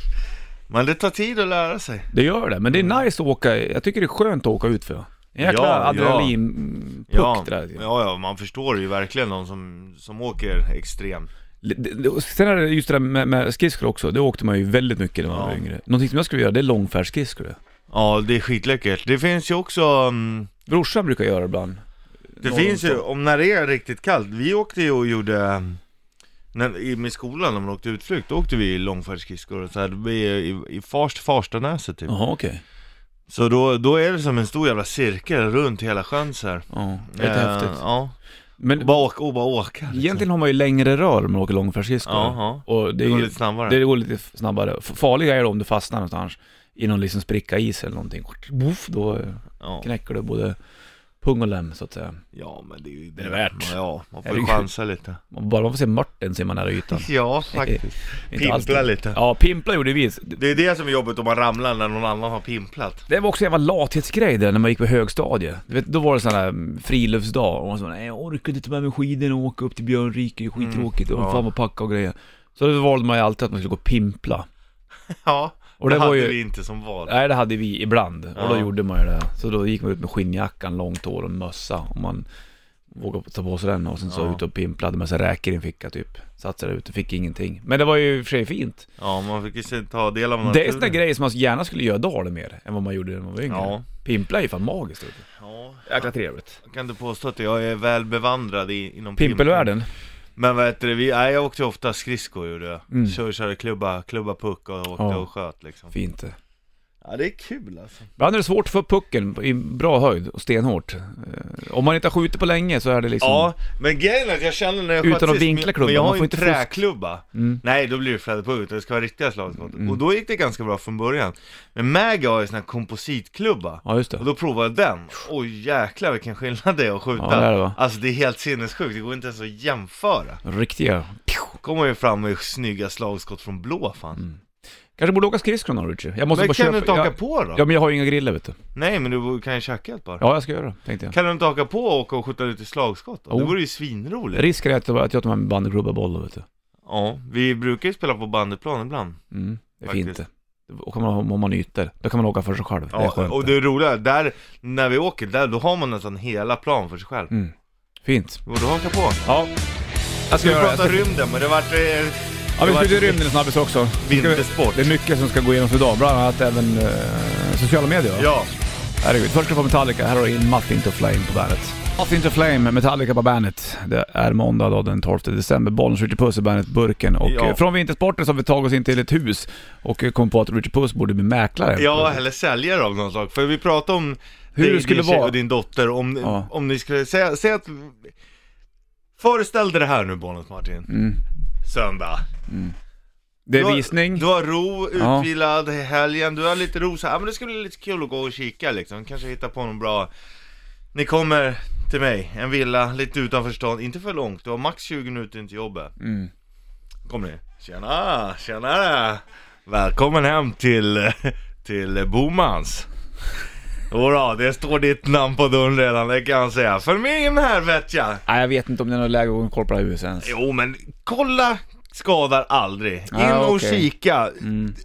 [SPEAKER 2] Men det tar tid att lära sig.
[SPEAKER 1] Det gör det, men det är nice att åka, jag tycker det är skönt att åka ut för. En jäkla
[SPEAKER 2] Mm. Ja, ja.
[SPEAKER 1] adrenalinpuck
[SPEAKER 2] Ja,
[SPEAKER 1] det där.
[SPEAKER 2] ja, ja, man förstår ju verkligen någon som, som åker extrem.
[SPEAKER 1] Det- det- och Sen är det just det där med, med skridskor också, det åkte man ju väldigt mycket när man var
[SPEAKER 2] Ja.
[SPEAKER 1] yngre. Någonting som jag skulle göra, det är långfärdsskridskor.
[SPEAKER 2] Ja, det är skitläckert. Det finns ju också, mm,
[SPEAKER 1] Brorsan brukar göra det ibland.
[SPEAKER 2] det
[SPEAKER 1] Någon
[SPEAKER 2] finns ju,
[SPEAKER 1] sån.
[SPEAKER 2] om när det är riktigt kallt, vi åkte ju och gjorde mm, när, i, med skolan, när man åkte utflykt, då åkte vi i långfärdsskridskor och så här, det blir i, i Farst, Farstanäset typ.
[SPEAKER 1] Jaha, okej.
[SPEAKER 2] Så då, då är det som en stor jävla cirkel runt hela sjön så här.
[SPEAKER 1] Ja, det är lite
[SPEAKER 2] Eh,
[SPEAKER 1] häftigt.
[SPEAKER 2] Ja,
[SPEAKER 1] Men
[SPEAKER 2] bara åka och bara åka. liksom.
[SPEAKER 1] egentligen har man ju längre rör om man åker långfärdsskridskor.
[SPEAKER 2] Ja, ja.
[SPEAKER 1] Och det,
[SPEAKER 2] Det går
[SPEAKER 1] är-
[SPEAKER 2] lite snabbare.
[SPEAKER 1] Det går lite f- snabbare. F- Farliga är det om du fastnar någonstans i någon liksom spricka is eller någonting. Woof, Då eh,
[SPEAKER 2] Ja.
[SPEAKER 1] knäcker du både pung och lem så att säga.
[SPEAKER 2] ja, men det är ju
[SPEAKER 1] Är det värt?
[SPEAKER 2] Ja, man får ju
[SPEAKER 1] Herregud.
[SPEAKER 2] chansa lite.
[SPEAKER 1] Man bara man får se mörten ser man nära ytan.
[SPEAKER 2] Ja, faktiskt.
[SPEAKER 1] Inte alls
[SPEAKER 2] Pimpla
[SPEAKER 1] det.
[SPEAKER 2] lite.
[SPEAKER 1] Ja, pimpla gjorde vi.
[SPEAKER 2] Det är det som är jobbigt om man ramlar när någon annan har pimplat.
[SPEAKER 1] Det var också en jävla lathetsgrej där när man gick på högstadiet. Du vet, då var det sån här mm, friluftsdag och man sa nej jag orkar inte ta med mig skidorna och åka upp till Björnrike, det är skittråkigt, och
[SPEAKER 2] Mm. ja.
[SPEAKER 1] fan vad packa och grejer. Så då valde man ju alltid att man skulle gå och pimpla.
[SPEAKER 2] Ja,
[SPEAKER 1] Och det var
[SPEAKER 2] hade
[SPEAKER 1] ju...
[SPEAKER 2] vi inte som val.
[SPEAKER 1] Nej det hade vi ibland och då
[SPEAKER 2] Ja.
[SPEAKER 1] gjorde man ju det. Så då gick man ut med skinnjackan, långt hår och mössa om man vågade ta på sig den och sen så
[SPEAKER 2] Ja.
[SPEAKER 1] ut och pimplade med sig räkor i en ficka typ. Satt sig där ute, fick ingenting. Men det var ju i och för sig fint.
[SPEAKER 2] Ja, man fick ju se- ta del av
[SPEAKER 1] Det är sådana grejer som man gärna skulle göra idag eller mer än vad man gjorde när man var yngre.
[SPEAKER 2] Ja.
[SPEAKER 1] Pimpla är ju fan magiskt. Vet du.
[SPEAKER 2] Ja,
[SPEAKER 1] Jäkla trevligt.
[SPEAKER 2] jag kan inte påstå att jag är väl bevandrad i, inom
[SPEAKER 1] Pimpelvärlden.
[SPEAKER 2] Men vad heter det, vi, nej, jag åkte ofta skridskor gjorde jag.
[SPEAKER 1] Mm.
[SPEAKER 2] Kör, körde klubba, klubba puck och åkte
[SPEAKER 1] Ja.
[SPEAKER 2] och sköt liksom.
[SPEAKER 1] Fint det.
[SPEAKER 2] Ja, det är kul alltså.
[SPEAKER 1] Ibland är det svårt att få upp pucken i bra höjd och stenhårt. Eh, Om man inte har skjutit på länge så är det liksom...
[SPEAKER 2] Ja, men grejen är att jag känner när jag
[SPEAKER 1] Utan
[SPEAKER 2] sköt
[SPEAKER 1] att
[SPEAKER 2] sist,
[SPEAKER 1] vinkla
[SPEAKER 2] men-
[SPEAKER 1] klubban,
[SPEAKER 2] men jag
[SPEAKER 1] man
[SPEAKER 2] har
[SPEAKER 1] får
[SPEAKER 2] ju en
[SPEAKER 1] inte fuska.
[SPEAKER 2] träklubba.
[SPEAKER 1] Mm.
[SPEAKER 2] Nej, då blir det fläderpuck, utan det ska vara riktiga slagskott.
[SPEAKER 1] Mm.
[SPEAKER 2] Och då gick det ganska bra från början. Men Maggie har ju sån här kompositklubba.
[SPEAKER 1] Ja, just det.
[SPEAKER 2] Och då provade jag den. Oj jäklar vilken skillnad det är att skjuta.
[SPEAKER 1] Ja, det är det, va?
[SPEAKER 2] alltså det är helt sinnessjukt, det går inte ens att jämföra.
[SPEAKER 1] Riktiga...
[SPEAKER 2] Kommer ju fram med snygga slagskott från blå fan.
[SPEAKER 1] Kanske borde åka skridskor någon Richie. Jag Mm. måste
[SPEAKER 2] Men
[SPEAKER 1] bara
[SPEAKER 2] kan
[SPEAKER 1] köpa...
[SPEAKER 2] du inte haka
[SPEAKER 1] jag...
[SPEAKER 2] på då?
[SPEAKER 1] Ja men jag har ju inga griller vet du.
[SPEAKER 2] Nej men du kan ju tjacka ett par.
[SPEAKER 1] Ja jag ska göra det, tänkte jag.
[SPEAKER 2] Kan du inte haka på och åka och skjuta lite slagskott då?
[SPEAKER 1] Jo.
[SPEAKER 2] Det vore ju svinroligt.
[SPEAKER 1] Risken Oh. är att jag att jag tar med mig bandyklubba och boll då, vet du.
[SPEAKER 2] Ja, vi brukar ju spela på bandyplan ibland.
[SPEAKER 1] Mm, det är
[SPEAKER 2] Faktiskt.
[SPEAKER 1] fint det. Och kan man, om man ytor, då kan man åka för sig själv. det är
[SPEAKER 2] Ja,
[SPEAKER 1] skönt.
[SPEAKER 2] och det roliga, är, där, när vi åker där, då har man nästan hela plan för sig själv.
[SPEAKER 1] Mm. Fint.
[SPEAKER 2] Borde haka på.
[SPEAKER 1] Ja. Jag ska
[SPEAKER 2] Ska vi
[SPEAKER 1] göra det. Jag
[SPEAKER 2] prata
[SPEAKER 1] Ska...
[SPEAKER 2] rymden, men det vart... eh,
[SPEAKER 1] Ja vi
[SPEAKER 2] det
[SPEAKER 1] ska
[SPEAKER 2] vart-
[SPEAKER 1] till rymden en snabbis också. Vi ska-
[SPEAKER 2] Vintersport.
[SPEAKER 1] Det är mycket som ska gå igenom för idag, bland annat även eh, sociala medier. va?
[SPEAKER 2] Ja,
[SPEAKER 1] Herregud. Först ska vi få Metallica, här har du in Nothing to Flame på bandet. Nothing to Flame, Metallica på bandet. Det är måndag då, den 12 december. Bollen skjuter puss i bandet Burken. Och
[SPEAKER 2] Ja.
[SPEAKER 1] eh, från vintersporten så har vi tagit oss in till ett hus och eh, kom på att Richard Puss borde bli mäklare.
[SPEAKER 2] ja, eller säljare av något slag. För vi pratade om
[SPEAKER 1] Hur
[SPEAKER 2] dig,
[SPEAKER 1] det skulle
[SPEAKER 2] din tjej
[SPEAKER 1] vara.
[SPEAKER 2] och din dotter, om,
[SPEAKER 1] Ja.
[SPEAKER 2] om ni skulle säga, säg att... Föreställ dig det här nu, Bonus Martin.
[SPEAKER 1] Mm.
[SPEAKER 2] Söndag.
[SPEAKER 1] Det
[SPEAKER 2] Du har-
[SPEAKER 1] är visning.
[SPEAKER 2] Du har ro,
[SPEAKER 1] Ja.
[SPEAKER 2] utvilad i helgen, du har lite ro så här, ja, men det skulle bli lite kul att gå och kika liksom, kanske hitta på någon bra Ni kommer till mig, en villa lite utanför stan, inte för långt, du har max 20 minuter in till jobbet
[SPEAKER 1] Mm.
[SPEAKER 2] Kommer ni? Tjena, tjenare! Välkommen hem till, till Bomans Jodå, det står ditt namn på dörren redan, det kan jag säga. Följ med in här vet jag!
[SPEAKER 1] Nej, jag vet inte om det är något läge att gå och kolla på det här huset ens.
[SPEAKER 2] Jo men kolla skadar aldrig. In
[SPEAKER 1] Ah,
[SPEAKER 2] och
[SPEAKER 1] okej. Mm.
[SPEAKER 2] kika.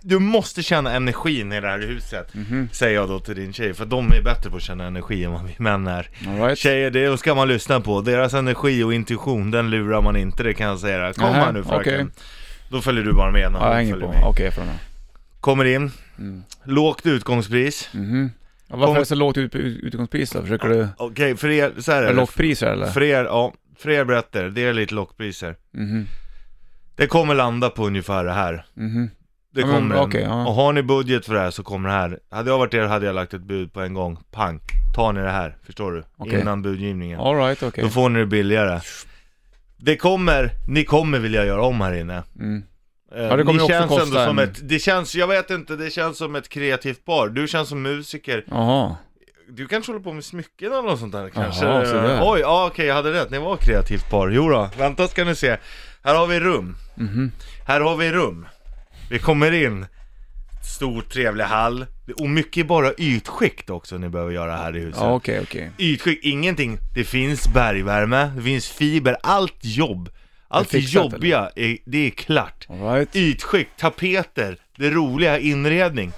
[SPEAKER 2] Du måste känna energin i det här huset.
[SPEAKER 1] Mhm.
[SPEAKER 2] Säger jag då till din tjej, för de är bättre på att känna energi än vad vi män är.
[SPEAKER 1] All right.
[SPEAKER 2] Tjejer, det ska man lyssna på. Deras energi och intuition, den lurar man inte, det kan jag säga. dig. Kom
[SPEAKER 1] Nähä,
[SPEAKER 2] här nu fröken.
[SPEAKER 1] okej.
[SPEAKER 2] Då följer du bara med när
[SPEAKER 1] Ja, jag
[SPEAKER 2] hon
[SPEAKER 1] hänger
[SPEAKER 2] följer
[SPEAKER 1] på. Mm.
[SPEAKER 2] med.
[SPEAKER 1] Okej, jag får den här.
[SPEAKER 2] Kommer in, lågt utgångspris.
[SPEAKER 1] Mm. Ja, Mhm. Varför
[SPEAKER 2] Kom-
[SPEAKER 1] är det så lågt ut, ut, utgångspris då? Försöker du...
[SPEAKER 2] Okej, för er, så här är
[SPEAKER 1] Är det
[SPEAKER 2] det.
[SPEAKER 1] lockpriser eller?
[SPEAKER 2] För er, ja, för er berättar, det är lite lockpriser.
[SPEAKER 1] Mhm.
[SPEAKER 2] Det kommer landa på ungefär det här.
[SPEAKER 1] Mhm.
[SPEAKER 2] Det
[SPEAKER 1] Ja, men,
[SPEAKER 2] kommer en-
[SPEAKER 1] okej, ja.
[SPEAKER 2] Och har ni budget för det här så kommer det här. Hade jag varit er hade jag lagt ett bud på en gång. Pang! Tar ni det här, förstår du?
[SPEAKER 1] Okej.
[SPEAKER 2] Innan budgivningen.
[SPEAKER 1] All right, okej.
[SPEAKER 2] Då får ni det billigare. Det kommer, ni kommer vilja göra om här inne.
[SPEAKER 1] Mm.
[SPEAKER 2] Eh,
[SPEAKER 1] Ja, det kommer
[SPEAKER 2] ni
[SPEAKER 1] också
[SPEAKER 2] känns
[SPEAKER 1] kosta
[SPEAKER 2] ändå som
[SPEAKER 1] en-
[SPEAKER 2] ett, det känns, jag vet inte, det känns som ett kreativt par. Du känns som musiker.
[SPEAKER 1] Jaha.
[SPEAKER 2] Du kanske håller på med smycken eller något sånt där kanske?
[SPEAKER 1] Jaha, så där.
[SPEAKER 2] Oj, ja, okej jag hade rätt, ni var ett kreativt par. Jo då, vänta ska ni se. Här har vi rum.
[SPEAKER 1] Mhm.
[SPEAKER 2] Här har vi rum. Vi kommer in. Stor trevlig hall. Och mycket bara ytskikt också ni behöver göra här i huset.
[SPEAKER 1] Ja, okej, okej.
[SPEAKER 2] Ytskikt, ingenting. Det finns bergvärme, det finns fiber, allt jobb. Allt
[SPEAKER 1] Det är fixat,
[SPEAKER 2] jobbiga, är, det är klart.
[SPEAKER 1] All right.
[SPEAKER 2] Ytskikt, tapeter, det roliga, inredning.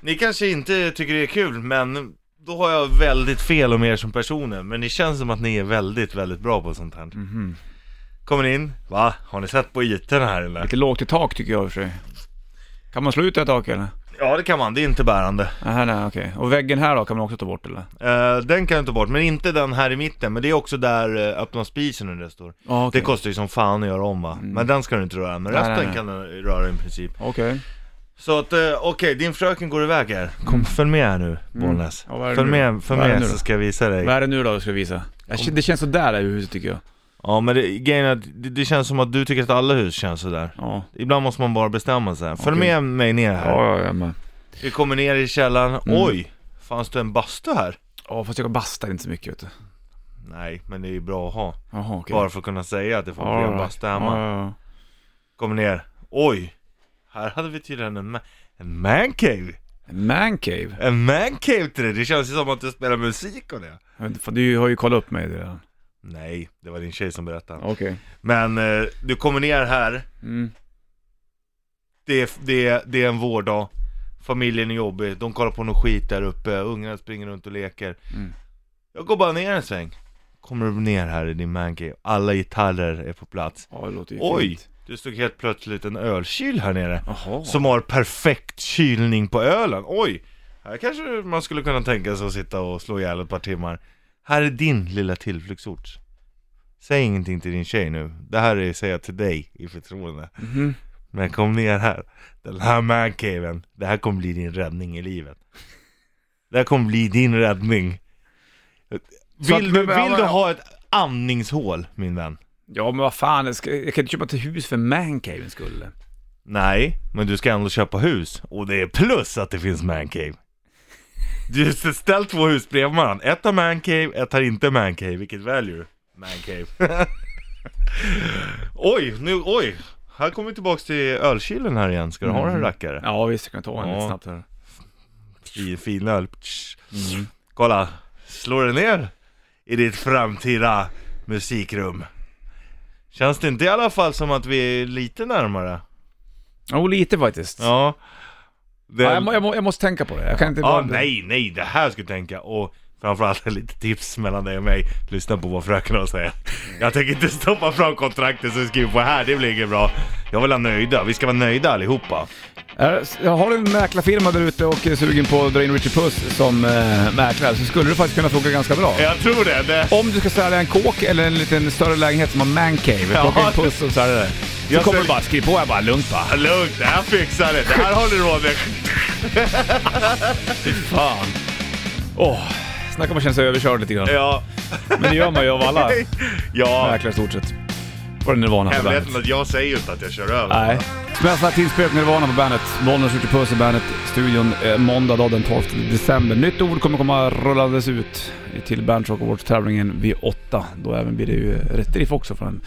[SPEAKER 2] Ni kanske inte tycker det är kul, men då har jag väldigt fel om er som personer. Men det känns som att ni är väldigt, väldigt bra på sånt här. Kommer ni in, va? Har ni sett på ytorna här eller?
[SPEAKER 1] Lite lågt i tak tycker jag i och för sig. Kan man slå ut det här taket eller?
[SPEAKER 2] Ja det kan man, det är inte bärande.
[SPEAKER 1] Aha, nej, okej. Och väggen här då kan man också ta bort eller?
[SPEAKER 2] Eh, den kan jag ta bort, men inte den här i mitten. Men det är också där uh, öppna spisen under det står.
[SPEAKER 1] Ja, okej.
[SPEAKER 2] Det kostar ju som fan att göra om va? Men den ska du inte röra, men
[SPEAKER 1] Nej,
[SPEAKER 2] resten
[SPEAKER 1] nej, nej.
[SPEAKER 2] kan du röra i princip.
[SPEAKER 1] Okej.
[SPEAKER 2] Så att, eh, okej, din fröken går iväg här. Kom, följ med här nu, Bollnäs.
[SPEAKER 1] Mm. Ja, vad är det
[SPEAKER 2] följ
[SPEAKER 1] nu?
[SPEAKER 2] med, följ
[SPEAKER 1] Vad är det
[SPEAKER 2] med
[SPEAKER 1] nu
[SPEAKER 2] så
[SPEAKER 1] då?
[SPEAKER 2] ska jag visa dig.
[SPEAKER 1] Vad är det nu då du ska visa? Jag, kän- det känns sådär där i huset tycker jag.
[SPEAKER 2] Ja men det, grejen är att det, det känns som att du tycker att alla hus känns sådär.
[SPEAKER 1] Ja.
[SPEAKER 2] Ibland måste man bara bestämma sig. Följ
[SPEAKER 1] Okej.
[SPEAKER 2] med mig ner här.
[SPEAKER 1] Ja, Mm. ja, ja men.
[SPEAKER 2] Vi kommer ner i källaren. Oj! Fanns det en bastu här?
[SPEAKER 1] Ja, fast jag bastar inte så mycket vet du.
[SPEAKER 2] Nej, men det är ju bra att ha.
[SPEAKER 1] Jaha, okej.
[SPEAKER 2] Bara för att kunna säga att det får bli
[SPEAKER 1] All
[SPEAKER 2] en
[SPEAKER 1] right.
[SPEAKER 2] bastu hemma.
[SPEAKER 1] Ja, ja, ja.
[SPEAKER 2] Kommer ner. Oj! Här hade vi tydligen en, ma- en mancave.
[SPEAKER 1] En mancave?
[SPEAKER 2] En mancave till det. Det känns ju som att du spelar musik och det.
[SPEAKER 1] Men fan, Du har ju kollat upp mig redan.
[SPEAKER 2] Nej, det var din tjej som berättade.
[SPEAKER 1] Okej.
[SPEAKER 2] Men eh, du kommer ner här.
[SPEAKER 1] Mm.
[SPEAKER 2] Det är, det, är, det är en vårdag. Familjen är jobbig, de kollar på någon skit där uppe, ungarna springer runt och leker.
[SPEAKER 1] Mm.
[SPEAKER 2] Jag går bara ner en sväng. Kommer du ner här i din mancave, alla gitarrer är på plats.
[SPEAKER 1] Ja, det låter ju
[SPEAKER 2] Oj!
[SPEAKER 1] fint.
[SPEAKER 2] Det stod helt plötsligt en ölkyl här nere.
[SPEAKER 1] Jaha.
[SPEAKER 2] Som har perfekt kylning på ölen. Oj! Här kanske man skulle kunna tänka sig att sitta och slå ihjäl ett par timmar. Här är din lilla tillflyktsort. Säg ingenting till din tjej nu. Det här är säger jag till dig i förtroende.
[SPEAKER 1] Mhm.
[SPEAKER 2] Men kom ner här. Den här mancaven. Det här kommer bli din räddning i livet. Det här kommer bli din räddning. Vill,
[SPEAKER 1] Så att-
[SPEAKER 2] du, vill
[SPEAKER 1] men-
[SPEAKER 2] du ha ett andningshål min vän?
[SPEAKER 1] Ja, men vad fan. Jag, ska, jag kan inte köpa ett hus för mancavens skull.
[SPEAKER 2] Nej, men du ska ändå köpa hus. Och det är plus att det finns mancave. Du har ställt två hus bredvid varandra. Ett har mancave, ett har inte mancave. Vilket väljer du? Mancave. oj, nu, oj. Här kommer vi tillbaks till ölkylen här igen. Ska du ha en rackare?
[SPEAKER 1] Mm. Ja, visst. Jag kan ta en
[SPEAKER 2] Ja.
[SPEAKER 1] lite snabbt här. Mm.
[SPEAKER 2] i finöl. Tsch. Kolla, slår det ner i ditt framtida musikrum. Känns det inte i alla fall som att vi är lite närmare?
[SPEAKER 1] Jo, lite faktiskt. Ja.
[SPEAKER 2] Ja. Det...
[SPEAKER 1] jag, må, jag, må, jag måste tänka på det. Jag kan inte...
[SPEAKER 2] ja, nej, nej, det här ska jag tänka. Och framförallt lite tips mellan dig och mig. Lyssna på vad fröken säger. Jag tänker inte stoppa fram kontraktet som vi skriver på här, det blir inget bra. Jag vill ha nöjda, vi ska vara nöjda allihopa.
[SPEAKER 1] Är- Äh, Har du en mäklarfirma där ute och är sugen på att dra in Richard Puss som eh, mäklare så skulle det faktiskt kunna funka ganska bra.
[SPEAKER 2] Jag tror det. det...
[SPEAKER 1] Om du ska sälja en kåk eller en liten större lägenhet som har mancave,
[SPEAKER 2] Ja.
[SPEAKER 1] plocka in Puss och sälja det. Så
[SPEAKER 2] Jag
[SPEAKER 1] kommer
[SPEAKER 2] ser-
[SPEAKER 1] du bara, skriv på här bara, lugnt bara.
[SPEAKER 2] Lugnt, det här fixar det. Det här har du råd med.
[SPEAKER 1] Fan. Åh, snacka om att känna sig överkörd lite grann.
[SPEAKER 2] Ja.
[SPEAKER 1] Men det gör man ju av alla
[SPEAKER 2] Ja,
[SPEAKER 1] mäklare i stort sett. Var det Nirvana på bandet?
[SPEAKER 2] hemligheten att jag säger ju inte att jag kör över.
[SPEAKER 1] Nej. Smälla tillspelet Nirvana på bandet. Bollnäs skjuter puss i bandet. Studion eh, måndag då, den 12 december. Nytt ord kommer komma rullades ut till Bandit Rock Awards-tävlingen vid 8. Då även blir det ju rätt riff också för den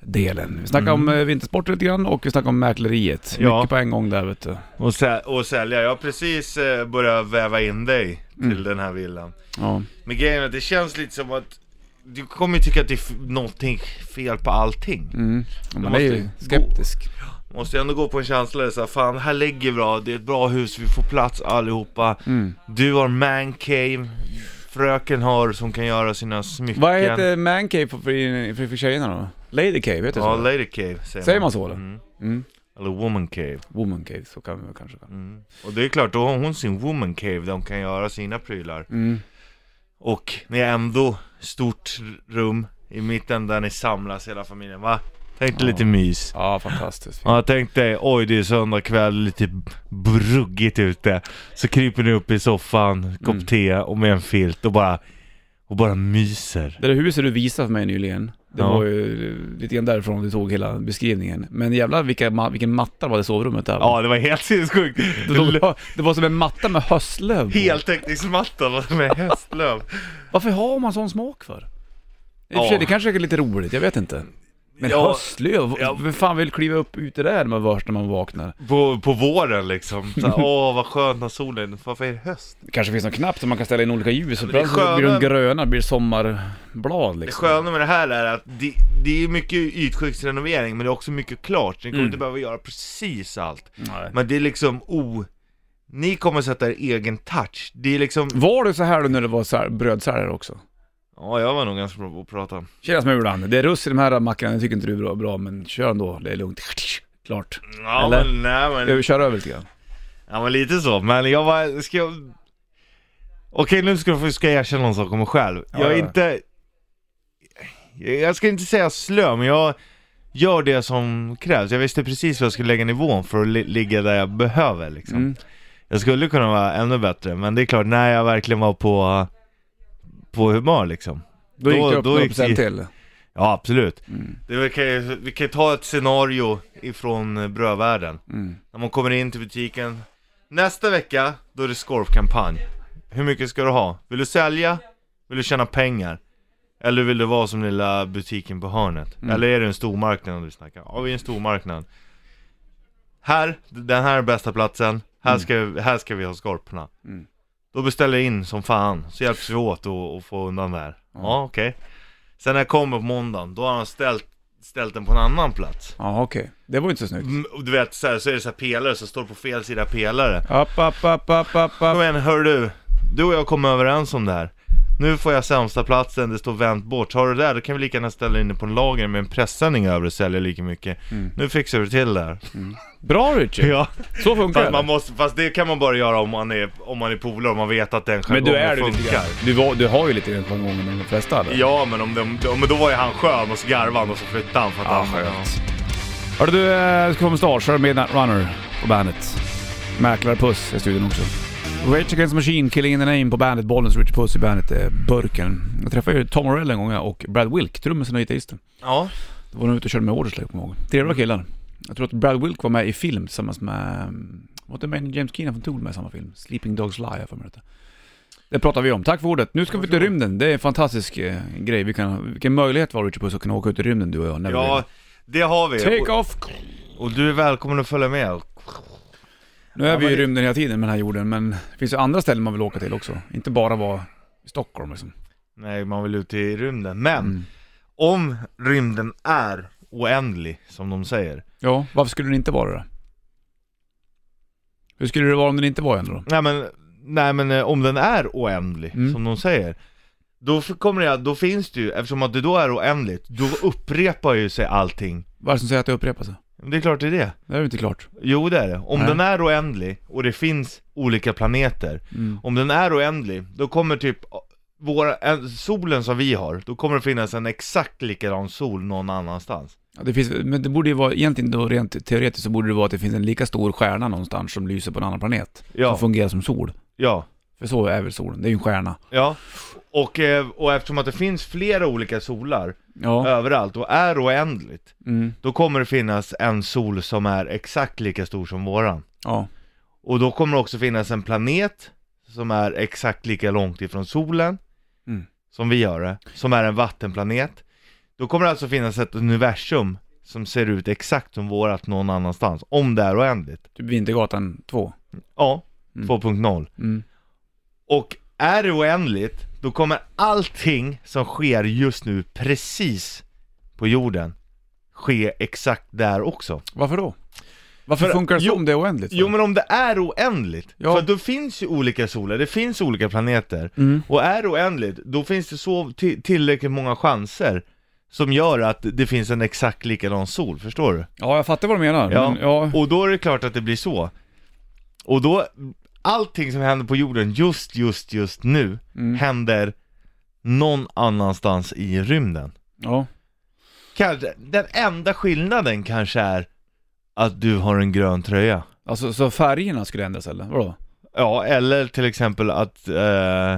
[SPEAKER 1] delen. Vi snackar om eh, vintersport lite grann och vi snackar om mäkleriet.
[SPEAKER 2] Ja.
[SPEAKER 1] Mycket på en gång där vet du.
[SPEAKER 2] Och, sä- och sälja, jag har precis eh, börjat väva in dig till den här villan.
[SPEAKER 1] Ja.
[SPEAKER 2] Men grejen är att det känns lite som att du kommer ju tycka att det är f- någonting fel på allting.
[SPEAKER 1] Mm. Man
[SPEAKER 2] måste
[SPEAKER 1] är ju
[SPEAKER 2] ju
[SPEAKER 1] skeptisk.
[SPEAKER 2] Måste ändå gå på en känsla där såhär, fan här ligger bra, det är ett bra hus, vi får plats allihopa.
[SPEAKER 1] Mm.
[SPEAKER 2] Du har man cave, fröken har som kan göra sina smycken.
[SPEAKER 1] Vad heter mancave för, för, för, för tjejerna då? Lady cave, heter det
[SPEAKER 2] Ja,
[SPEAKER 1] så?
[SPEAKER 2] lady cave säger
[SPEAKER 1] Säger man så eller?
[SPEAKER 2] Mm.
[SPEAKER 1] Mm.
[SPEAKER 2] Eller woman cave.
[SPEAKER 1] Woman cave, så kan vi kanske. Mm.
[SPEAKER 2] Och det är klart, då har hon sin woman cave där hon kan göra sina prylar.
[SPEAKER 1] Mm.
[SPEAKER 2] Och ni är ändå stort rum i mitten där ni samlas hela familjen, va? Tänk dig lite mys.
[SPEAKER 1] Ja, fantastiskt.
[SPEAKER 2] Ja, tänk dig, oj det är söndag kväll, lite bruggigt ute. Så kryper ni upp i soffan, kopp
[SPEAKER 1] Mm.
[SPEAKER 2] te och med en filt och bara, och bara myser.
[SPEAKER 1] Det där huset du visade för mig nyligen, det
[SPEAKER 2] Ja.
[SPEAKER 1] var ju lite grann därifrån du tog hela beskrivningen. Men jävlar vilka, ma- vilken matta det var i sovrummet där.
[SPEAKER 2] Ja, det var helt sinnessjukt.
[SPEAKER 1] Det, låg, det var som en matta med höstlöv på.
[SPEAKER 2] Heltäckningsmatta med hästlöv.
[SPEAKER 1] Varför har man sån smak för? I och för
[SPEAKER 2] Ja.
[SPEAKER 1] sig, det kanske är lite roligt, jag vet inte. Men
[SPEAKER 2] Ja.
[SPEAKER 1] höstlöv,
[SPEAKER 2] Ja.
[SPEAKER 1] vem fan vill kliva upp ute där när man vars när man vaknar?
[SPEAKER 2] På, på våren liksom. Så, här, åh vad skönt när solen, varför är det höst?
[SPEAKER 1] Det kanske finns någon knapp som man kan ställa in olika ljus, och
[SPEAKER 2] Men det
[SPEAKER 1] ibland så blir de
[SPEAKER 2] sköna-
[SPEAKER 1] gröna, blir det sommarblad
[SPEAKER 2] Det
[SPEAKER 1] liksom.
[SPEAKER 2] sköna med det här är att det, det är mycket ytskiktsrenovering men det är också mycket klart. Ni kommer
[SPEAKER 1] Mm.
[SPEAKER 2] inte behöva göra precis allt.
[SPEAKER 1] Nej.
[SPEAKER 2] Men det är liksom o... Ni kommer sätta er egen touch. Det är liksom...
[SPEAKER 1] Var det så här då när det var så här, brödsäljare också?
[SPEAKER 2] Ja, jag var nog ganska bra på att prata.
[SPEAKER 1] Tjena Smulan, det är russ i de här mackorna, det tycker inte du är bra, bra men kör ändå, det är lugnt. Klart.
[SPEAKER 2] Ja,
[SPEAKER 1] Eller?
[SPEAKER 2] men nej men...
[SPEAKER 1] Jag kör över lite grann.
[SPEAKER 2] Ja, men lite så. Men jag var... Ska jag... Okej, nu ska jag, ska jag erkänna en sak om mig själv.
[SPEAKER 1] Ja,
[SPEAKER 2] jag är
[SPEAKER 1] ja.
[SPEAKER 2] inte... Jag ska inte säga slö, men jag gör det som krävs. Jag visste precis vad jag skulle lägga nivån för att li- ligga där jag behöver liksom.
[SPEAKER 1] Mm.
[SPEAKER 2] Jag skulle kunna vara ännu bättre, men det är klart, när jag verkligen var på, på humör liksom.
[SPEAKER 1] Då gick
[SPEAKER 2] Då-
[SPEAKER 1] det upp
[SPEAKER 2] då
[SPEAKER 1] några
[SPEAKER 2] gick
[SPEAKER 1] procent
[SPEAKER 2] det-
[SPEAKER 1] till.
[SPEAKER 2] Ja, absolut.
[SPEAKER 1] Mm.
[SPEAKER 2] Det, vi, kan, ju- vi kan ju ta ett scenario ifrån eh, brödvärlden.
[SPEAKER 1] Mm.
[SPEAKER 2] När man kommer in till butiken. Nästa vecka, då är det skorpkampanj. Hur mycket ska du ha? Vill du sälja? Vill du tjäna pengar? Eller vill du vara som den lilla butiken på hörnet?
[SPEAKER 1] Mm.
[SPEAKER 2] Eller är det en stormarknad du snackar? Ja, vi är en stormarknad. Här, den här är bästa platsen. Här ska, här ska vi ha skorporna.
[SPEAKER 1] Mm.
[SPEAKER 2] Då beställer jag in som fan, så hjälps vi åt att att få undan det här. Ja, okej. Sen när jag kommer på måndagen, då har han ställt ställt den på en annan plats.
[SPEAKER 1] Ja, okej. Det var ju inte så snyggt.
[SPEAKER 2] Mm, och Du vet, så, här, så är det så här pelare som står på fel sida pelare.
[SPEAKER 1] Upp, upp, upp, upp, upp,
[SPEAKER 2] Kom
[SPEAKER 1] upp.
[SPEAKER 2] igen, hör du. Du och jag kom överens om det här. Nu får jag sämsta platsen, det står vänt bort. Har du det där, då kan vi lika gärna ställa in det på en lager med en pressändning över och sälja lika mycket.
[SPEAKER 1] Mm.
[SPEAKER 2] Nu fixar du till det här.
[SPEAKER 1] Bra Richie!
[SPEAKER 2] Ja.
[SPEAKER 1] Så funkar
[SPEAKER 2] Fast, man
[SPEAKER 1] det.
[SPEAKER 2] måste, fast det kan man bara göra om man är, om man är polare och man vet att den
[SPEAKER 1] Men
[SPEAKER 2] jargongen
[SPEAKER 1] du är du
[SPEAKER 2] funkar.
[SPEAKER 1] lite grann. Du, var, du har ju lite grann gånger med de flesta eller?
[SPEAKER 2] Ja, men om de, om, men då var ju han skön och så garvade han och så flyttade han för att
[SPEAKER 1] Ja,
[SPEAKER 2] han...
[SPEAKER 1] Ah, skönt. Hörru du, eh, du ska få mustasch. Här är Midnight Runner på bandet. Mäklarpuss i studion också. Rage Against the Machine, Killing in the Name på bandet. Bollens Richard Puss i bandet, eh, burken. Jag träffade ju Tom Morell en gång ja, och Brad Wilk, trummisen och gitarristen.
[SPEAKER 2] Ja.
[SPEAKER 1] Då var de ute och körde med Ordersley, kommer jag ihåg. Trevliga killar. Jag tror att Brad Wilk var med i film tillsammans med... mm, Var inte med James Keenan från Tool med i samma film? Sleeping Dogs Lie, har jag för mig det hette. Det pratar vi om. Tack för ordet. Nu ska vi ut i rymden. Det är en fantastisk eh, grej. Vi kan, vilken möjlighet var Richard Puss att kunna åka ut i rymden du och jag. när vi
[SPEAKER 2] ja,
[SPEAKER 1] vill.
[SPEAKER 2] det har vi.
[SPEAKER 1] Take
[SPEAKER 2] Eh, och,
[SPEAKER 1] off!
[SPEAKER 2] och du är välkommen att följa med.
[SPEAKER 1] Nu är vi ju i
[SPEAKER 2] men det-
[SPEAKER 1] rymden hela tiden med den här jorden, men det finns ju andra ställen man vill åka till också. Inte bara vara i Stockholm liksom.
[SPEAKER 2] Nej, man vill ut i rymden. Men
[SPEAKER 1] Mm.
[SPEAKER 2] om rymden är oändlig, som de säger.
[SPEAKER 1] Ja, varför skulle den inte vara det då? Hur skulle det vara om den inte var en då?
[SPEAKER 2] Nej men, nej, men eh, om den är oändlig,
[SPEAKER 1] Mm.
[SPEAKER 2] som de säger. Då f- kommer det, då finns det ju, eftersom att det då är oändligt, då upprepar ju sig allting.
[SPEAKER 1] Vad är det som säger att det upprepas?
[SPEAKER 2] Men Det är klart det är det.
[SPEAKER 1] Det är ju inte klart.
[SPEAKER 2] Jo det är det. Om
[SPEAKER 1] Nej.
[SPEAKER 2] den är oändlig och det finns olika planeter,
[SPEAKER 1] Mm.
[SPEAKER 2] om den är oändlig, då kommer typ våra, en- solen som vi har, då kommer det finnas en exakt likadan sol någon annanstans.
[SPEAKER 1] Ja, det finns, men det borde ju vara, egentligen då rent teoretiskt så borde det vara att det finns en lika stor stjärna någonstans som lyser på en annan planet. Som
[SPEAKER 2] Ja,
[SPEAKER 1] fungerar som sol.
[SPEAKER 2] ja,
[SPEAKER 1] För så är väl solen, det är ju en stjärna.
[SPEAKER 2] ja. Och, eh, och eftersom att det finns flera olika solar
[SPEAKER 1] Ja.
[SPEAKER 2] överallt och är oändligt,
[SPEAKER 1] Mm.
[SPEAKER 2] Då kommer det finnas en sol som är exakt lika stor som våran.
[SPEAKER 1] Ja.
[SPEAKER 2] Och då kommer det också finnas en planet som är exakt lika långt ifrån solen
[SPEAKER 1] Mm.
[SPEAKER 2] som vi gör det, som är en vattenplanet. Då kommer det alltså finnas ett universum som ser ut exakt som vårat någon annanstans, om det är oändligt.
[SPEAKER 1] Typ Vintergatan 2.
[SPEAKER 2] Ja,
[SPEAKER 1] Mm.
[SPEAKER 2] 2.0.
[SPEAKER 1] Mm.
[SPEAKER 2] Och är det oändligt, då kommer allting som sker just nu precis på jorden ske exakt där också.
[SPEAKER 1] Varför då? Varför
[SPEAKER 2] För-
[SPEAKER 1] funkar det så
[SPEAKER 2] jo-
[SPEAKER 1] om det är oändligt? för?
[SPEAKER 2] Jo men om det är oändligt,
[SPEAKER 1] Ja.
[SPEAKER 2] för då finns ju olika solar, det finns olika planeter
[SPEAKER 1] Mm.
[SPEAKER 2] Och är det oändligt, då finns det så ti- tillräckligt många chanser Som gör att det finns en exakt likadan sol, förstår du?
[SPEAKER 1] Ja, jag fattar vad du menar.
[SPEAKER 2] Ja.
[SPEAKER 1] Men, ja.
[SPEAKER 2] Och då är det klart att det blir så Och då, allting som händer på jorden just, just, just nu
[SPEAKER 1] Mm.
[SPEAKER 2] Händer någon annanstans i rymden
[SPEAKER 1] ja.
[SPEAKER 2] Kanske, den enda skillnaden kanske är att du har en grön tröja
[SPEAKER 1] Alltså, så färgerna skulle ändras eller? Vadå?
[SPEAKER 2] Ja, eller till exempel att eh,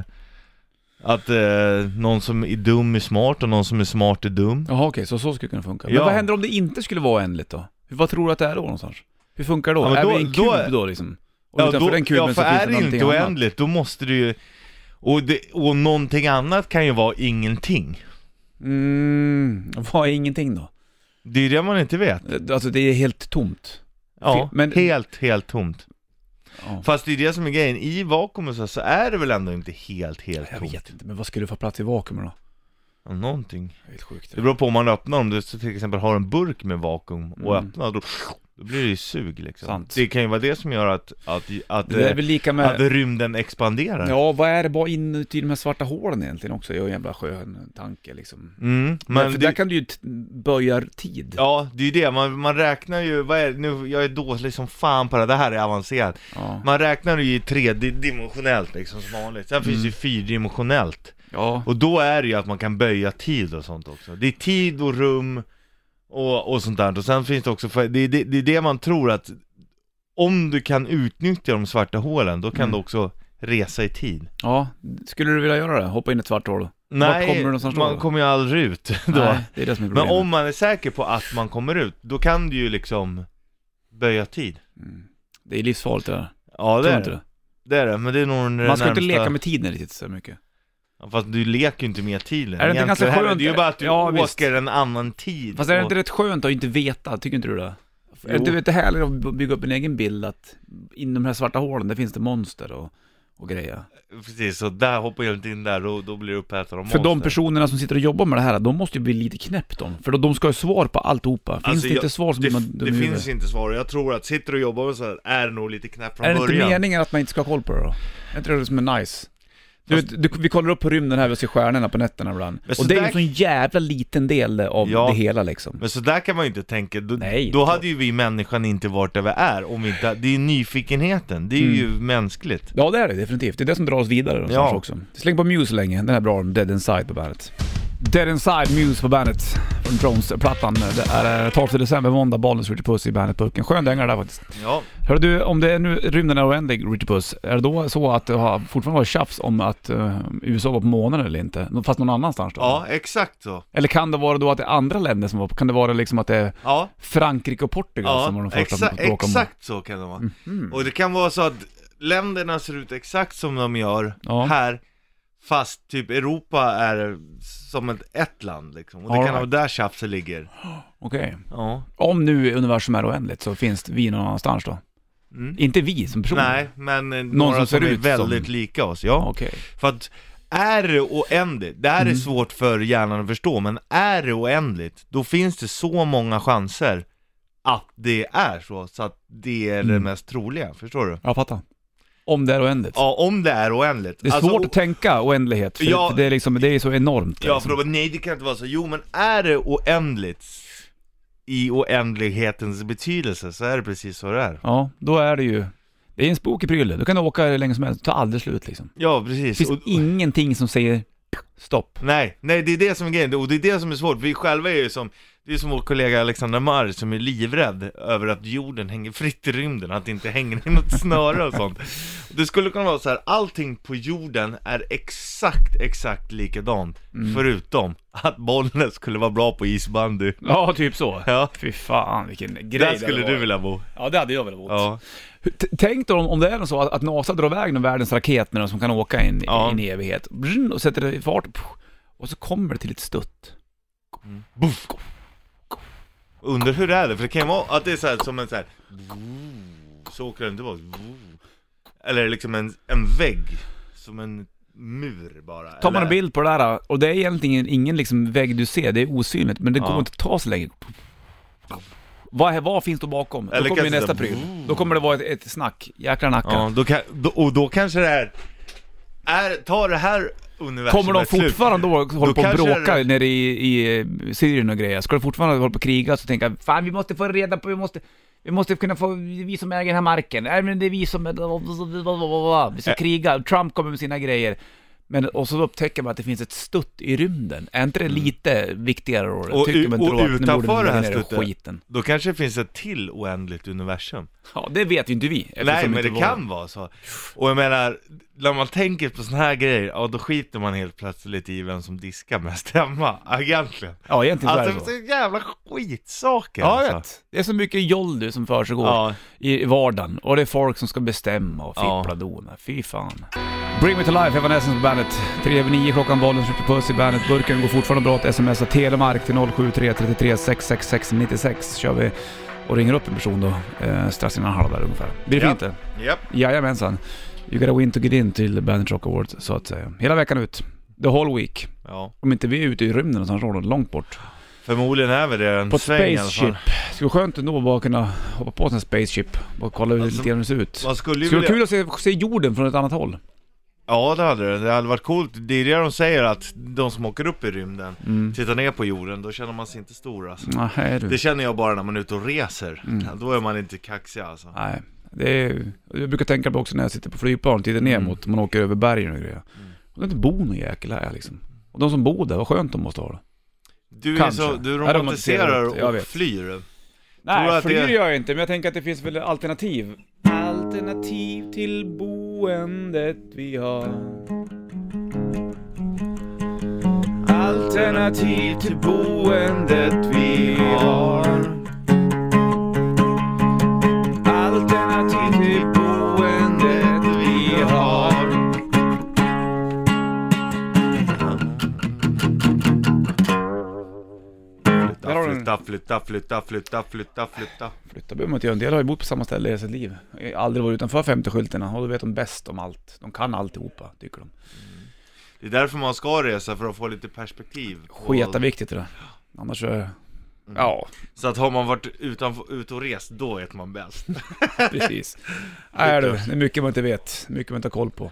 [SPEAKER 2] Att eh, någon som är dum är smart och någon som är smart är dum
[SPEAKER 1] Jaha, okej, så så skulle det kunna funka. Men
[SPEAKER 2] Ja.
[SPEAKER 1] vad händer om det inte skulle vara oändligt då? Hur- Vad tror du att det är då någonstans? Hur funkar det då?
[SPEAKER 2] Ja, men
[SPEAKER 1] är
[SPEAKER 2] då-
[SPEAKER 1] vi i en kub
[SPEAKER 2] då
[SPEAKER 1] då,
[SPEAKER 2] är-
[SPEAKER 1] liksom? Och utanför den kuben
[SPEAKER 2] ja,
[SPEAKER 1] så
[SPEAKER 2] för
[SPEAKER 1] finns det
[SPEAKER 2] är det
[SPEAKER 1] någonting
[SPEAKER 2] inte
[SPEAKER 1] annat?
[SPEAKER 2] oändligt då måste du ju och, det, och någonting annat kan ju vara ingenting
[SPEAKER 1] Mm, vad är ingenting då?
[SPEAKER 2] Det är ju det man inte vet
[SPEAKER 1] Eh, Alltså det är helt tomt.
[SPEAKER 2] Ja,
[SPEAKER 1] men-
[SPEAKER 2] helt, helt tomt
[SPEAKER 1] Ja.
[SPEAKER 2] Fast det är det som är grejen, i vakuumet så- så är det väl ändå inte helt, helt
[SPEAKER 1] Jag
[SPEAKER 2] tomt
[SPEAKER 1] vet inte, men vad skulle du få plats i vakuumet då?
[SPEAKER 2] Ja, Någonting
[SPEAKER 1] Det är Helt sjukt.
[SPEAKER 2] Det beror på om man öppnar om du så till exempel har en burk med vakuum och
[SPEAKER 1] Mm.
[SPEAKER 2] öppnar då, då blir det ju sug liksom
[SPEAKER 1] Sant.
[SPEAKER 2] Det kan ju vara det som gör att, att, att,
[SPEAKER 1] Det är
[SPEAKER 2] eh,
[SPEAKER 1] väl lika
[SPEAKER 2] att
[SPEAKER 1] med...
[SPEAKER 2] rymden expanderar
[SPEAKER 1] Ja, vad är det bara inuti de här svarta hålen egentligen också? Jag är en jävla skön tanke liksom.
[SPEAKER 2] mm,
[SPEAKER 1] Men
[SPEAKER 2] men
[SPEAKER 1] för
[SPEAKER 2] det,
[SPEAKER 1] där kan du ju t- böja tid.
[SPEAKER 2] Ja, det är ju det, man, man räknar ju, vad är, nu, jag är dålig som fan på det, det här är avancerat
[SPEAKER 1] Ja.
[SPEAKER 2] Man räknar ju i tredimensionellt liksom som vanligt, sen
[SPEAKER 1] Mm.
[SPEAKER 2] finns det ju fyrdimensionellt
[SPEAKER 1] ja.
[SPEAKER 2] Och då är det ju att man kan böja tid och sånt också. Det är tid och rum och, och sånt där. Och sen finns det också, för, det, är det, det är det man tror att om du kan utnyttja de svarta hålen, då kan
[SPEAKER 1] Mm.
[SPEAKER 2] du också resa i tid.
[SPEAKER 1] Ja, skulle du vilja göra det? Hoppa in i ett svart hål?
[SPEAKER 2] Nej,
[SPEAKER 1] kommer du någonstans då?
[SPEAKER 2] man kommer ju aldrig ut då.
[SPEAKER 1] Nej, det är det som är
[SPEAKER 2] Men
[SPEAKER 1] problemet.
[SPEAKER 2] om man är säker på att man kommer ut, då kan du ju liksom böja tid.
[SPEAKER 1] Mm. Det är livsfarligt det där.
[SPEAKER 2] Ja det
[SPEAKER 1] Tror
[SPEAKER 2] är
[SPEAKER 1] inte
[SPEAKER 2] det.
[SPEAKER 1] det?
[SPEAKER 2] det är det, men det är nog den
[SPEAKER 1] Man ska inte
[SPEAKER 2] närmsta...
[SPEAKER 1] leka med tiden riktigt så mycket.
[SPEAKER 2] Ja, Fast du leker ju inte med tiden
[SPEAKER 1] Är det inte
[SPEAKER 2] egentligen
[SPEAKER 1] ganska
[SPEAKER 2] heller.
[SPEAKER 1] skönt?
[SPEAKER 2] Det är ju bara att du
[SPEAKER 1] Ja,
[SPEAKER 2] åker
[SPEAKER 1] visst.
[SPEAKER 2] en annan tid.
[SPEAKER 1] Fast är det
[SPEAKER 2] och-
[SPEAKER 1] inte rätt skönt att inte veta? Tycker inte du det?
[SPEAKER 2] Jo.
[SPEAKER 1] Är det inte härligt att bygga upp en egen bild att inom de här svarta hålen, där finns det monster och och grejer.
[SPEAKER 2] Precis, så där hoppar jag inte in där, då, då blir du uppäten av
[SPEAKER 1] För de
[SPEAKER 2] monster.
[SPEAKER 1] personerna som sitter och jobbar med det här, de måste ju bli lite knäppt de. För de ska ju svar på alltihopa. Finns
[SPEAKER 2] Alltså,
[SPEAKER 1] det inte
[SPEAKER 2] jag-
[SPEAKER 1] svar så
[SPEAKER 2] Det,
[SPEAKER 1] blir man dum
[SPEAKER 2] det
[SPEAKER 1] i huvudet.
[SPEAKER 2] finns inte svar, jag tror att sitter du och jobbar med så här är nog lite knäpp från
[SPEAKER 1] Är det
[SPEAKER 2] början.
[SPEAKER 1] inte meningen att man inte ska ha koll på det då? Jag tror det är det som är nice. Du,
[SPEAKER 2] Fast-
[SPEAKER 1] vet, du, vi kollar upp på rymden här och ser stjärnorna på nätterna ibland.
[SPEAKER 2] Men så
[SPEAKER 1] Och det är ju
[SPEAKER 2] där-
[SPEAKER 1] en sån jävla liten del av
[SPEAKER 2] Ja.
[SPEAKER 1] det hela liksom.
[SPEAKER 2] Men så där kan man ju inte tänka, då,
[SPEAKER 1] Nej.
[SPEAKER 2] då hade ju vi människan inte varit där vi är om vi inte, det är ju nyfikenheten, det är ju
[SPEAKER 1] Mm.
[SPEAKER 2] mänskligt.
[SPEAKER 1] Ja det är det definitivt, det är det som drar oss vidare någonstans
[SPEAKER 2] Ja.
[SPEAKER 1] också. Släng på Muse så länge, den är bra, Dead Inside på bandet. Dead Inside Muse på bandet, från Drones-plattan. Det är eh, 12 december, måndag, Bollnäs, Ritchie Puss i bandet-pucken. Skön dänga det där faktiskt.
[SPEAKER 2] Ja,
[SPEAKER 1] Hör du, om det är nu rymden är oändlig, Ritchie Puss, är det då så att det har fortfarande varit tjafs om att eh, USA var på månen eller inte? Fast någon annanstans då?
[SPEAKER 2] ja exakt så.
[SPEAKER 1] Eller kan det vara då att det är andra länder som var Kan det vara liksom att det är
[SPEAKER 2] Ja,
[SPEAKER 1] Frankrike och Portugal som var
[SPEAKER 2] ja
[SPEAKER 1] de första som
[SPEAKER 2] exa
[SPEAKER 1] bråkade om det? Mhm.
[SPEAKER 2] exakt så kan det vara. Och det kan vara så att länderna ser ut exakt som de gör
[SPEAKER 1] Ja.
[SPEAKER 2] här, fast typ Europa är som ett, ett land liksom. Och det
[SPEAKER 1] All
[SPEAKER 2] kan
[SPEAKER 1] right.
[SPEAKER 2] vara där tjafset ligger.
[SPEAKER 1] Okej.
[SPEAKER 2] Ja.
[SPEAKER 1] Om nu universum är oändligt så finns det vi någon annanstans då?
[SPEAKER 2] Mm.
[SPEAKER 1] Inte vi som personer?
[SPEAKER 2] Nej, men eh, några
[SPEAKER 1] som
[SPEAKER 2] som,
[SPEAKER 1] ser
[SPEAKER 2] är
[SPEAKER 1] ut som-
[SPEAKER 2] väldigt lika oss, ja.
[SPEAKER 1] Okej.
[SPEAKER 2] För att är det oändligt, det här
[SPEAKER 1] Mm.
[SPEAKER 2] är svårt för hjärnan att förstå, men är det oändligt, då finns det så många chanser att det är så, så att det är det
[SPEAKER 1] Mm.
[SPEAKER 2] mest troliga, förstår du?
[SPEAKER 1] Jag fattar. Om det är oändligt.
[SPEAKER 2] Ja, om det är oändligt.
[SPEAKER 1] Det är
[SPEAKER 2] Alltså,
[SPEAKER 1] svårt att tänka oändlighet, för,
[SPEAKER 2] Ja.
[SPEAKER 1] för det, är liksom, det är så enormt.
[SPEAKER 2] Ja, för
[SPEAKER 1] liksom.
[SPEAKER 2] då, bara, nej det kan inte vara så. Jo, men är det oändligt i oändlighetens betydelse så är det precis så det är.
[SPEAKER 1] ja, då är det ju... Det är en spokig prylle, du kan åka hur länge som helst, det tar aldrig slut liksom.
[SPEAKER 2] Ja,
[SPEAKER 1] Det
[SPEAKER 2] precis.
[SPEAKER 1] finns
[SPEAKER 2] Och-
[SPEAKER 1] ingenting som säger stopp.
[SPEAKER 2] Nej, nej det är det som är grejen, och det är det som är svårt, vi själva är ju som Det är som vår kollega Alexander Marr som är livrädd över att jorden hänger fritt i rymden, att det inte hänger i något snöre och sånt Det skulle kunna vara så här, allting på jorden är exakt, exakt likadant
[SPEAKER 1] Mm.
[SPEAKER 2] Förutom att Bollnäs skulle vara bra på isbandy
[SPEAKER 1] Ja, typ så.
[SPEAKER 2] Ja,
[SPEAKER 1] Fy fan vilken grej
[SPEAKER 2] där
[SPEAKER 1] det
[SPEAKER 2] skulle
[SPEAKER 1] var.
[SPEAKER 2] du vilja bo
[SPEAKER 1] Ja, det hade jag väl bott.
[SPEAKER 2] Ja,
[SPEAKER 1] T- Tänk då om, om det är så att, att NASA drar iväg någon världens raket med den som kan åka in,
[SPEAKER 2] Ja.
[SPEAKER 1] in i evighet. Brrn, Och sätter det i fart. Puh. Och så kommer det till ett stutt.
[SPEAKER 2] Buff. Undrar hur det är det, för det kan ju vara att det är så här, som en så här Så åker den tillbaka Eller liksom en, en vägg Som en mur bara
[SPEAKER 1] Tar man
[SPEAKER 2] eller-
[SPEAKER 1] en bild på det där och det är egentligen ingen liksom vägg du ser, det är osynligt, men det
[SPEAKER 2] Ja.
[SPEAKER 1] kommer inte ta så länge. Vad, är- vad finns då bakom?
[SPEAKER 2] Eller
[SPEAKER 1] då kommer ju
[SPEAKER 2] kanske
[SPEAKER 1] nästa
[SPEAKER 2] så här,
[SPEAKER 1] pryl. Då kommer det vara ett, ett snack. Jäklar nacka.
[SPEAKER 2] Ja, då kan, då, och då kanske det är, är Tar det här universumet
[SPEAKER 1] Kommer de fortfarande då hålla på och
[SPEAKER 2] kanske
[SPEAKER 1] bråka
[SPEAKER 2] det-
[SPEAKER 1] nere i, i eh, Syrien och grejer? Ska de fortfarande hålla på och kriga och så tänka Fan vi måste få reda på, vi måste, vi måste kunna få, vi som äger den här marken, nej men det är vi som, är- vi ska kriga, Trump kommer med sina grejer. Men och så upptäcker man att det finns ett stutt i rymden. Är inte det lite viktigare då?
[SPEAKER 2] Mm. Och
[SPEAKER 1] Tycker
[SPEAKER 2] u-
[SPEAKER 1] man inte
[SPEAKER 2] och
[SPEAKER 1] då att nu borde
[SPEAKER 2] utanför
[SPEAKER 1] vi
[SPEAKER 2] det här
[SPEAKER 1] lägga ner i
[SPEAKER 2] stuttet-
[SPEAKER 1] Skiten.
[SPEAKER 2] Då kanske det finns ett till oändligt universum
[SPEAKER 1] Ja, det vet ju inte vi. eftersom
[SPEAKER 2] Nej men
[SPEAKER 1] inte
[SPEAKER 2] det
[SPEAKER 1] vår-
[SPEAKER 2] kan vara så Och jag menar, när man tänker på såna här grejer, ja då skiter man helt plötsligt i vem som diskar mest hemma, egentligen
[SPEAKER 1] Ja, egentligen så är
[SPEAKER 2] Alltså
[SPEAKER 1] det
[SPEAKER 2] det
[SPEAKER 1] så.
[SPEAKER 2] är så jävla skitsaker
[SPEAKER 1] Ja, jag
[SPEAKER 2] alltså.
[SPEAKER 1] vet. Det är så mycket joll du som försiggår.
[SPEAKER 2] Ja,
[SPEAKER 1] i vardagen och det är folk som ska bestämma och
[SPEAKER 2] Ja.
[SPEAKER 1] fippla och dona. Fy fan. Bring me to life, Evanescence på bandet. 3 över 9 klockan, bollen skjuter puss i bandet. Burken går fortfarande bra att smsa Telemark till 0733 666 96 kör vi och ringer upp en person då eh, strax innan halv där ungefär. Blir det
[SPEAKER 2] Ja.
[SPEAKER 1] fint det?
[SPEAKER 2] japp.
[SPEAKER 1] Jajamensan. You gotta win to get in till Bandit Rock Awards så att säga. Hela veckan ut. The whole week.
[SPEAKER 2] Ja.
[SPEAKER 1] Om inte vi är ute i rymden någonstans då, långt bort.
[SPEAKER 2] Förmodligen är vi det en
[SPEAKER 1] På ett
[SPEAKER 2] sväng i alla fall.
[SPEAKER 1] spaceship. Skulle skönt ändå att bara kunna hoppa på en sån här spaceship och kolla hur
[SPEAKER 2] Alltså,
[SPEAKER 1] lite grann det ser ut.
[SPEAKER 2] Man skulle ju
[SPEAKER 1] Skulle vara
[SPEAKER 2] vilja...
[SPEAKER 1] kul att se, se jorden från ett annat håll.
[SPEAKER 2] Ja det hade det, det hade varit coolt. Det är det de säger att de som åker upp i rymden,
[SPEAKER 1] Mm.
[SPEAKER 2] tittar ner på jorden, då känner man sig inte stor alltså.
[SPEAKER 1] Nej,
[SPEAKER 2] Det
[SPEAKER 1] du.
[SPEAKER 2] känner jag bara när man är ute och reser.
[SPEAKER 1] Mm.
[SPEAKER 2] Ja, då är man inte kaxig alltså.
[SPEAKER 1] Nej. Det är, jag brukar tänka på också när jag sitter på flygplan och tittar
[SPEAKER 2] Mm.
[SPEAKER 1] ner mot, man åker över bergen och grejer. Och det inte bor någon jäkel här liksom. Och de som bor där, vad skönt de måste ha det.
[SPEAKER 2] Du, är
[SPEAKER 1] Kanske.
[SPEAKER 2] så, du
[SPEAKER 1] Ja, romantiserar
[SPEAKER 2] romantiserar
[SPEAKER 1] lite, jag
[SPEAKER 2] och
[SPEAKER 1] vet.
[SPEAKER 2] flyr. Tror du
[SPEAKER 1] Nej,
[SPEAKER 2] att
[SPEAKER 1] flyr
[SPEAKER 2] det-
[SPEAKER 1] gör jag inte, men jag tänker att det finns väl alternativ. Alternativ till boendet vi har. Alternativ till boendet vi har. Alternativ till boendet vi har. Där har du den.
[SPEAKER 2] Flytta, flytta, flytta, flytta, flytta, flytta.
[SPEAKER 1] Flytta behöver man inte göra. En del har ju bott på samma ställe i hela sitt liv. Aldrig varit utanför 50-skyltarna och då vet de bäst om allt. De kan alltihopa, tycker de.
[SPEAKER 2] Det är därför man ska resa, för att få lite perspektiv. på-
[SPEAKER 1] Sketaviktigt det där. Annars
[SPEAKER 2] Mm.
[SPEAKER 1] är... Ja,
[SPEAKER 2] Så att har man varit utanför, ute och rest, då äter man bäst.
[SPEAKER 1] precis. Nej du, det är mycket man inte vet. Mycket man inte har koll på.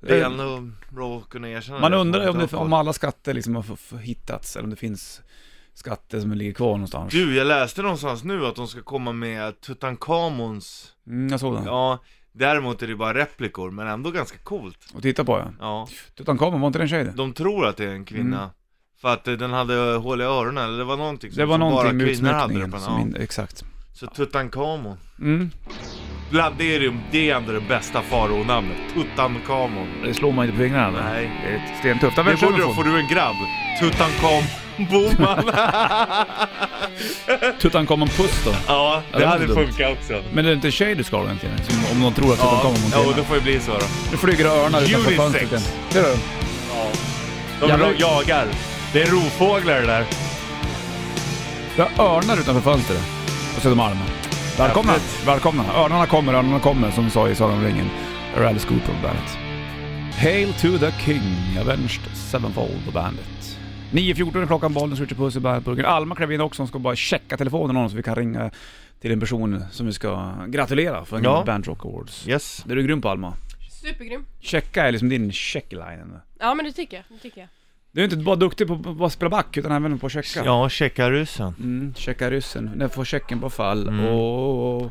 [SPEAKER 2] Det är ändå bra att kunna erkänna
[SPEAKER 1] Eh, Man
[SPEAKER 2] det,
[SPEAKER 1] undrar ju
[SPEAKER 2] för
[SPEAKER 1] om,
[SPEAKER 2] man
[SPEAKER 1] det,
[SPEAKER 2] inte har
[SPEAKER 1] om
[SPEAKER 2] koll.
[SPEAKER 1] alla skatter liksom har f- f- hittats, eller om det finns skatter som ligger kvar någonstans.
[SPEAKER 2] Du, jag läste någonstans nu att de ska komma med Tutankhamons
[SPEAKER 1] Mm, jag såg den.
[SPEAKER 2] Ja, däremot är det bara replikor, men ändå ganska coolt.
[SPEAKER 1] Och titta på den.
[SPEAKER 2] Ja,
[SPEAKER 1] Tutankhamun, var inte det en tjej det?
[SPEAKER 2] de tror att det är en kvinna. För att eh, den hade hål i öronen, eller det var någonting som,
[SPEAKER 1] Mm. Det var
[SPEAKER 2] som bara
[SPEAKER 1] någonting med
[SPEAKER 2] kvinnor hade det på
[SPEAKER 1] utsmyckningen.
[SPEAKER 2] den.
[SPEAKER 1] Som
[SPEAKER 2] Ja.
[SPEAKER 1] in, exakt.
[SPEAKER 2] Så Tutankhamon.
[SPEAKER 1] Mm.
[SPEAKER 2] Bland det är det, det är ändå det bästa faronamnet. Tutankhamon.
[SPEAKER 1] Det slår man inte på fingrarna. eller?
[SPEAKER 2] Nej.
[SPEAKER 1] Det är stentufft. Ja, men
[SPEAKER 2] Det borde
[SPEAKER 1] sjunger
[SPEAKER 2] du,
[SPEAKER 1] folk.
[SPEAKER 2] får du en grabb. Tutankhamon. Boman.
[SPEAKER 1] Tutankhamun Puss då.
[SPEAKER 2] ja,
[SPEAKER 1] det
[SPEAKER 2] det
[SPEAKER 1] var
[SPEAKER 2] hade
[SPEAKER 1] inte dumt.
[SPEAKER 2] funkat också.
[SPEAKER 1] Men det är inte tjej du ska ha egentligen? Som, om någon tror att
[SPEAKER 2] Ja,
[SPEAKER 1] Tutankhamun
[SPEAKER 2] ja, och då
[SPEAKER 1] monterar.
[SPEAKER 2] får det bli så då.
[SPEAKER 1] Nu flyger det örnar utanför
[SPEAKER 2] Unisex.
[SPEAKER 1] fönstret igen. Ser du?
[SPEAKER 2] De
[SPEAKER 1] Jävlar.
[SPEAKER 2] jagar. Det är rovfåglar det där.
[SPEAKER 1] Vi har örnar utanför fönstret på Södermalm. Välkomna!
[SPEAKER 2] Häftigt.
[SPEAKER 1] Välkomna! Örnarna kommer, örnarna kommer, som vi sa i Sagan om ringen. Alice Cooper och Bandet. Hail to the King, Avenged Sevenfold och Bandet. 9.14 är klockan, bollen skjuter puss i Bandetburken. Alma klev in också, hon ska bara checka telefonen någon så vi kan ringa till en person som vi ska gratulera för en
[SPEAKER 2] Ja.
[SPEAKER 1] Band Rock Awards.
[SPEAKER 2] Yes.
[SPEAKER 1] Det är du grym på Alma.
[SPEAKER 5] Supergrym.
[SPEAKER 1] Checka är liksom din checkline.
[SPEAKER 5] Ja men det tycker jag. Det tycker jag.
[SPEAKER 1] Du är inte bara duktig på på- på att spela back utan även på att checka.
[SPEAKER 2] Ja, checka rusen.
[SPEAKER 1] Mm, checka ryssen. När får checken på fall?
[SPEAKER 2] Mm.
[SPEAKER 1] Åh, åh,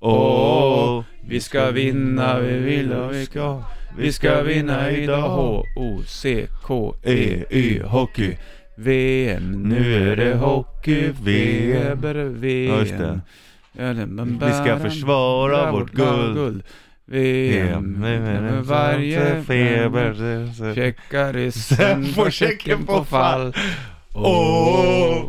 [SPEAKER 1] åh.
[SPEAKER 2] Åh,
[SPEAKER 1] Vi ska vinna, vi vill och vi ska Vi ska vinna idag
[SPEAKER 2] E,
[SPEAKER 1] H-O-C-K-E-Y Hockey VM, nu är det hockey VM VM
[SPEAKER 2] Ja, just det.
[SPEAKER 1] Ja, det- men
[SPEAKER 2] Vi ska
[SPEAKER 1] bäran-
[SPEAKER 2] försvara
[SPEAKER 1] bära
[SPEAKER 2] vårt guld.
[SPEAKER 1] guld.
[SPEAKER 2] Mm,
[SPEAKER 1] VM, med E, varje feber Checka ryssen,
[SPEAKER 2] Får
[SPEAKER 1] får
[SPEAKER 2] checken
[SPEAKER 1] checken
[SPEAKER 2] på
[SPEAKER 1] på fall
[SPEAKER 2] Åh,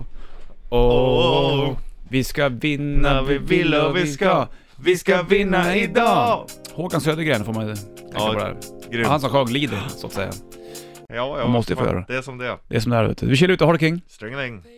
[SPEAKER 2] åh.
[SPEAKER 1] Åh, vi ska vinna, vi vill och vi ska
[SPEAKER 2] Vi
[SPEAKER 1] ska vinna idag! Håkan Södergren får man ju tänka
[SPEAKER 2] Ja,
[SPEAKER 1] på där.
[SPEAKER 2] Grymt.
[SPEAKER 1] Han som sjöng lider, så att säga.
[SPEAKER 2] ja, ja,
[SPEAKER 1] måste ju få
[SPEAKER 2] man-
[SPEAKER 1] göra.
[SPEAKER 2] Det är som det är.
[SPEAKER 1] Det är som det är vet du. Vi chillar ut och har det king.
[SPEAKER 2] Strängeläng.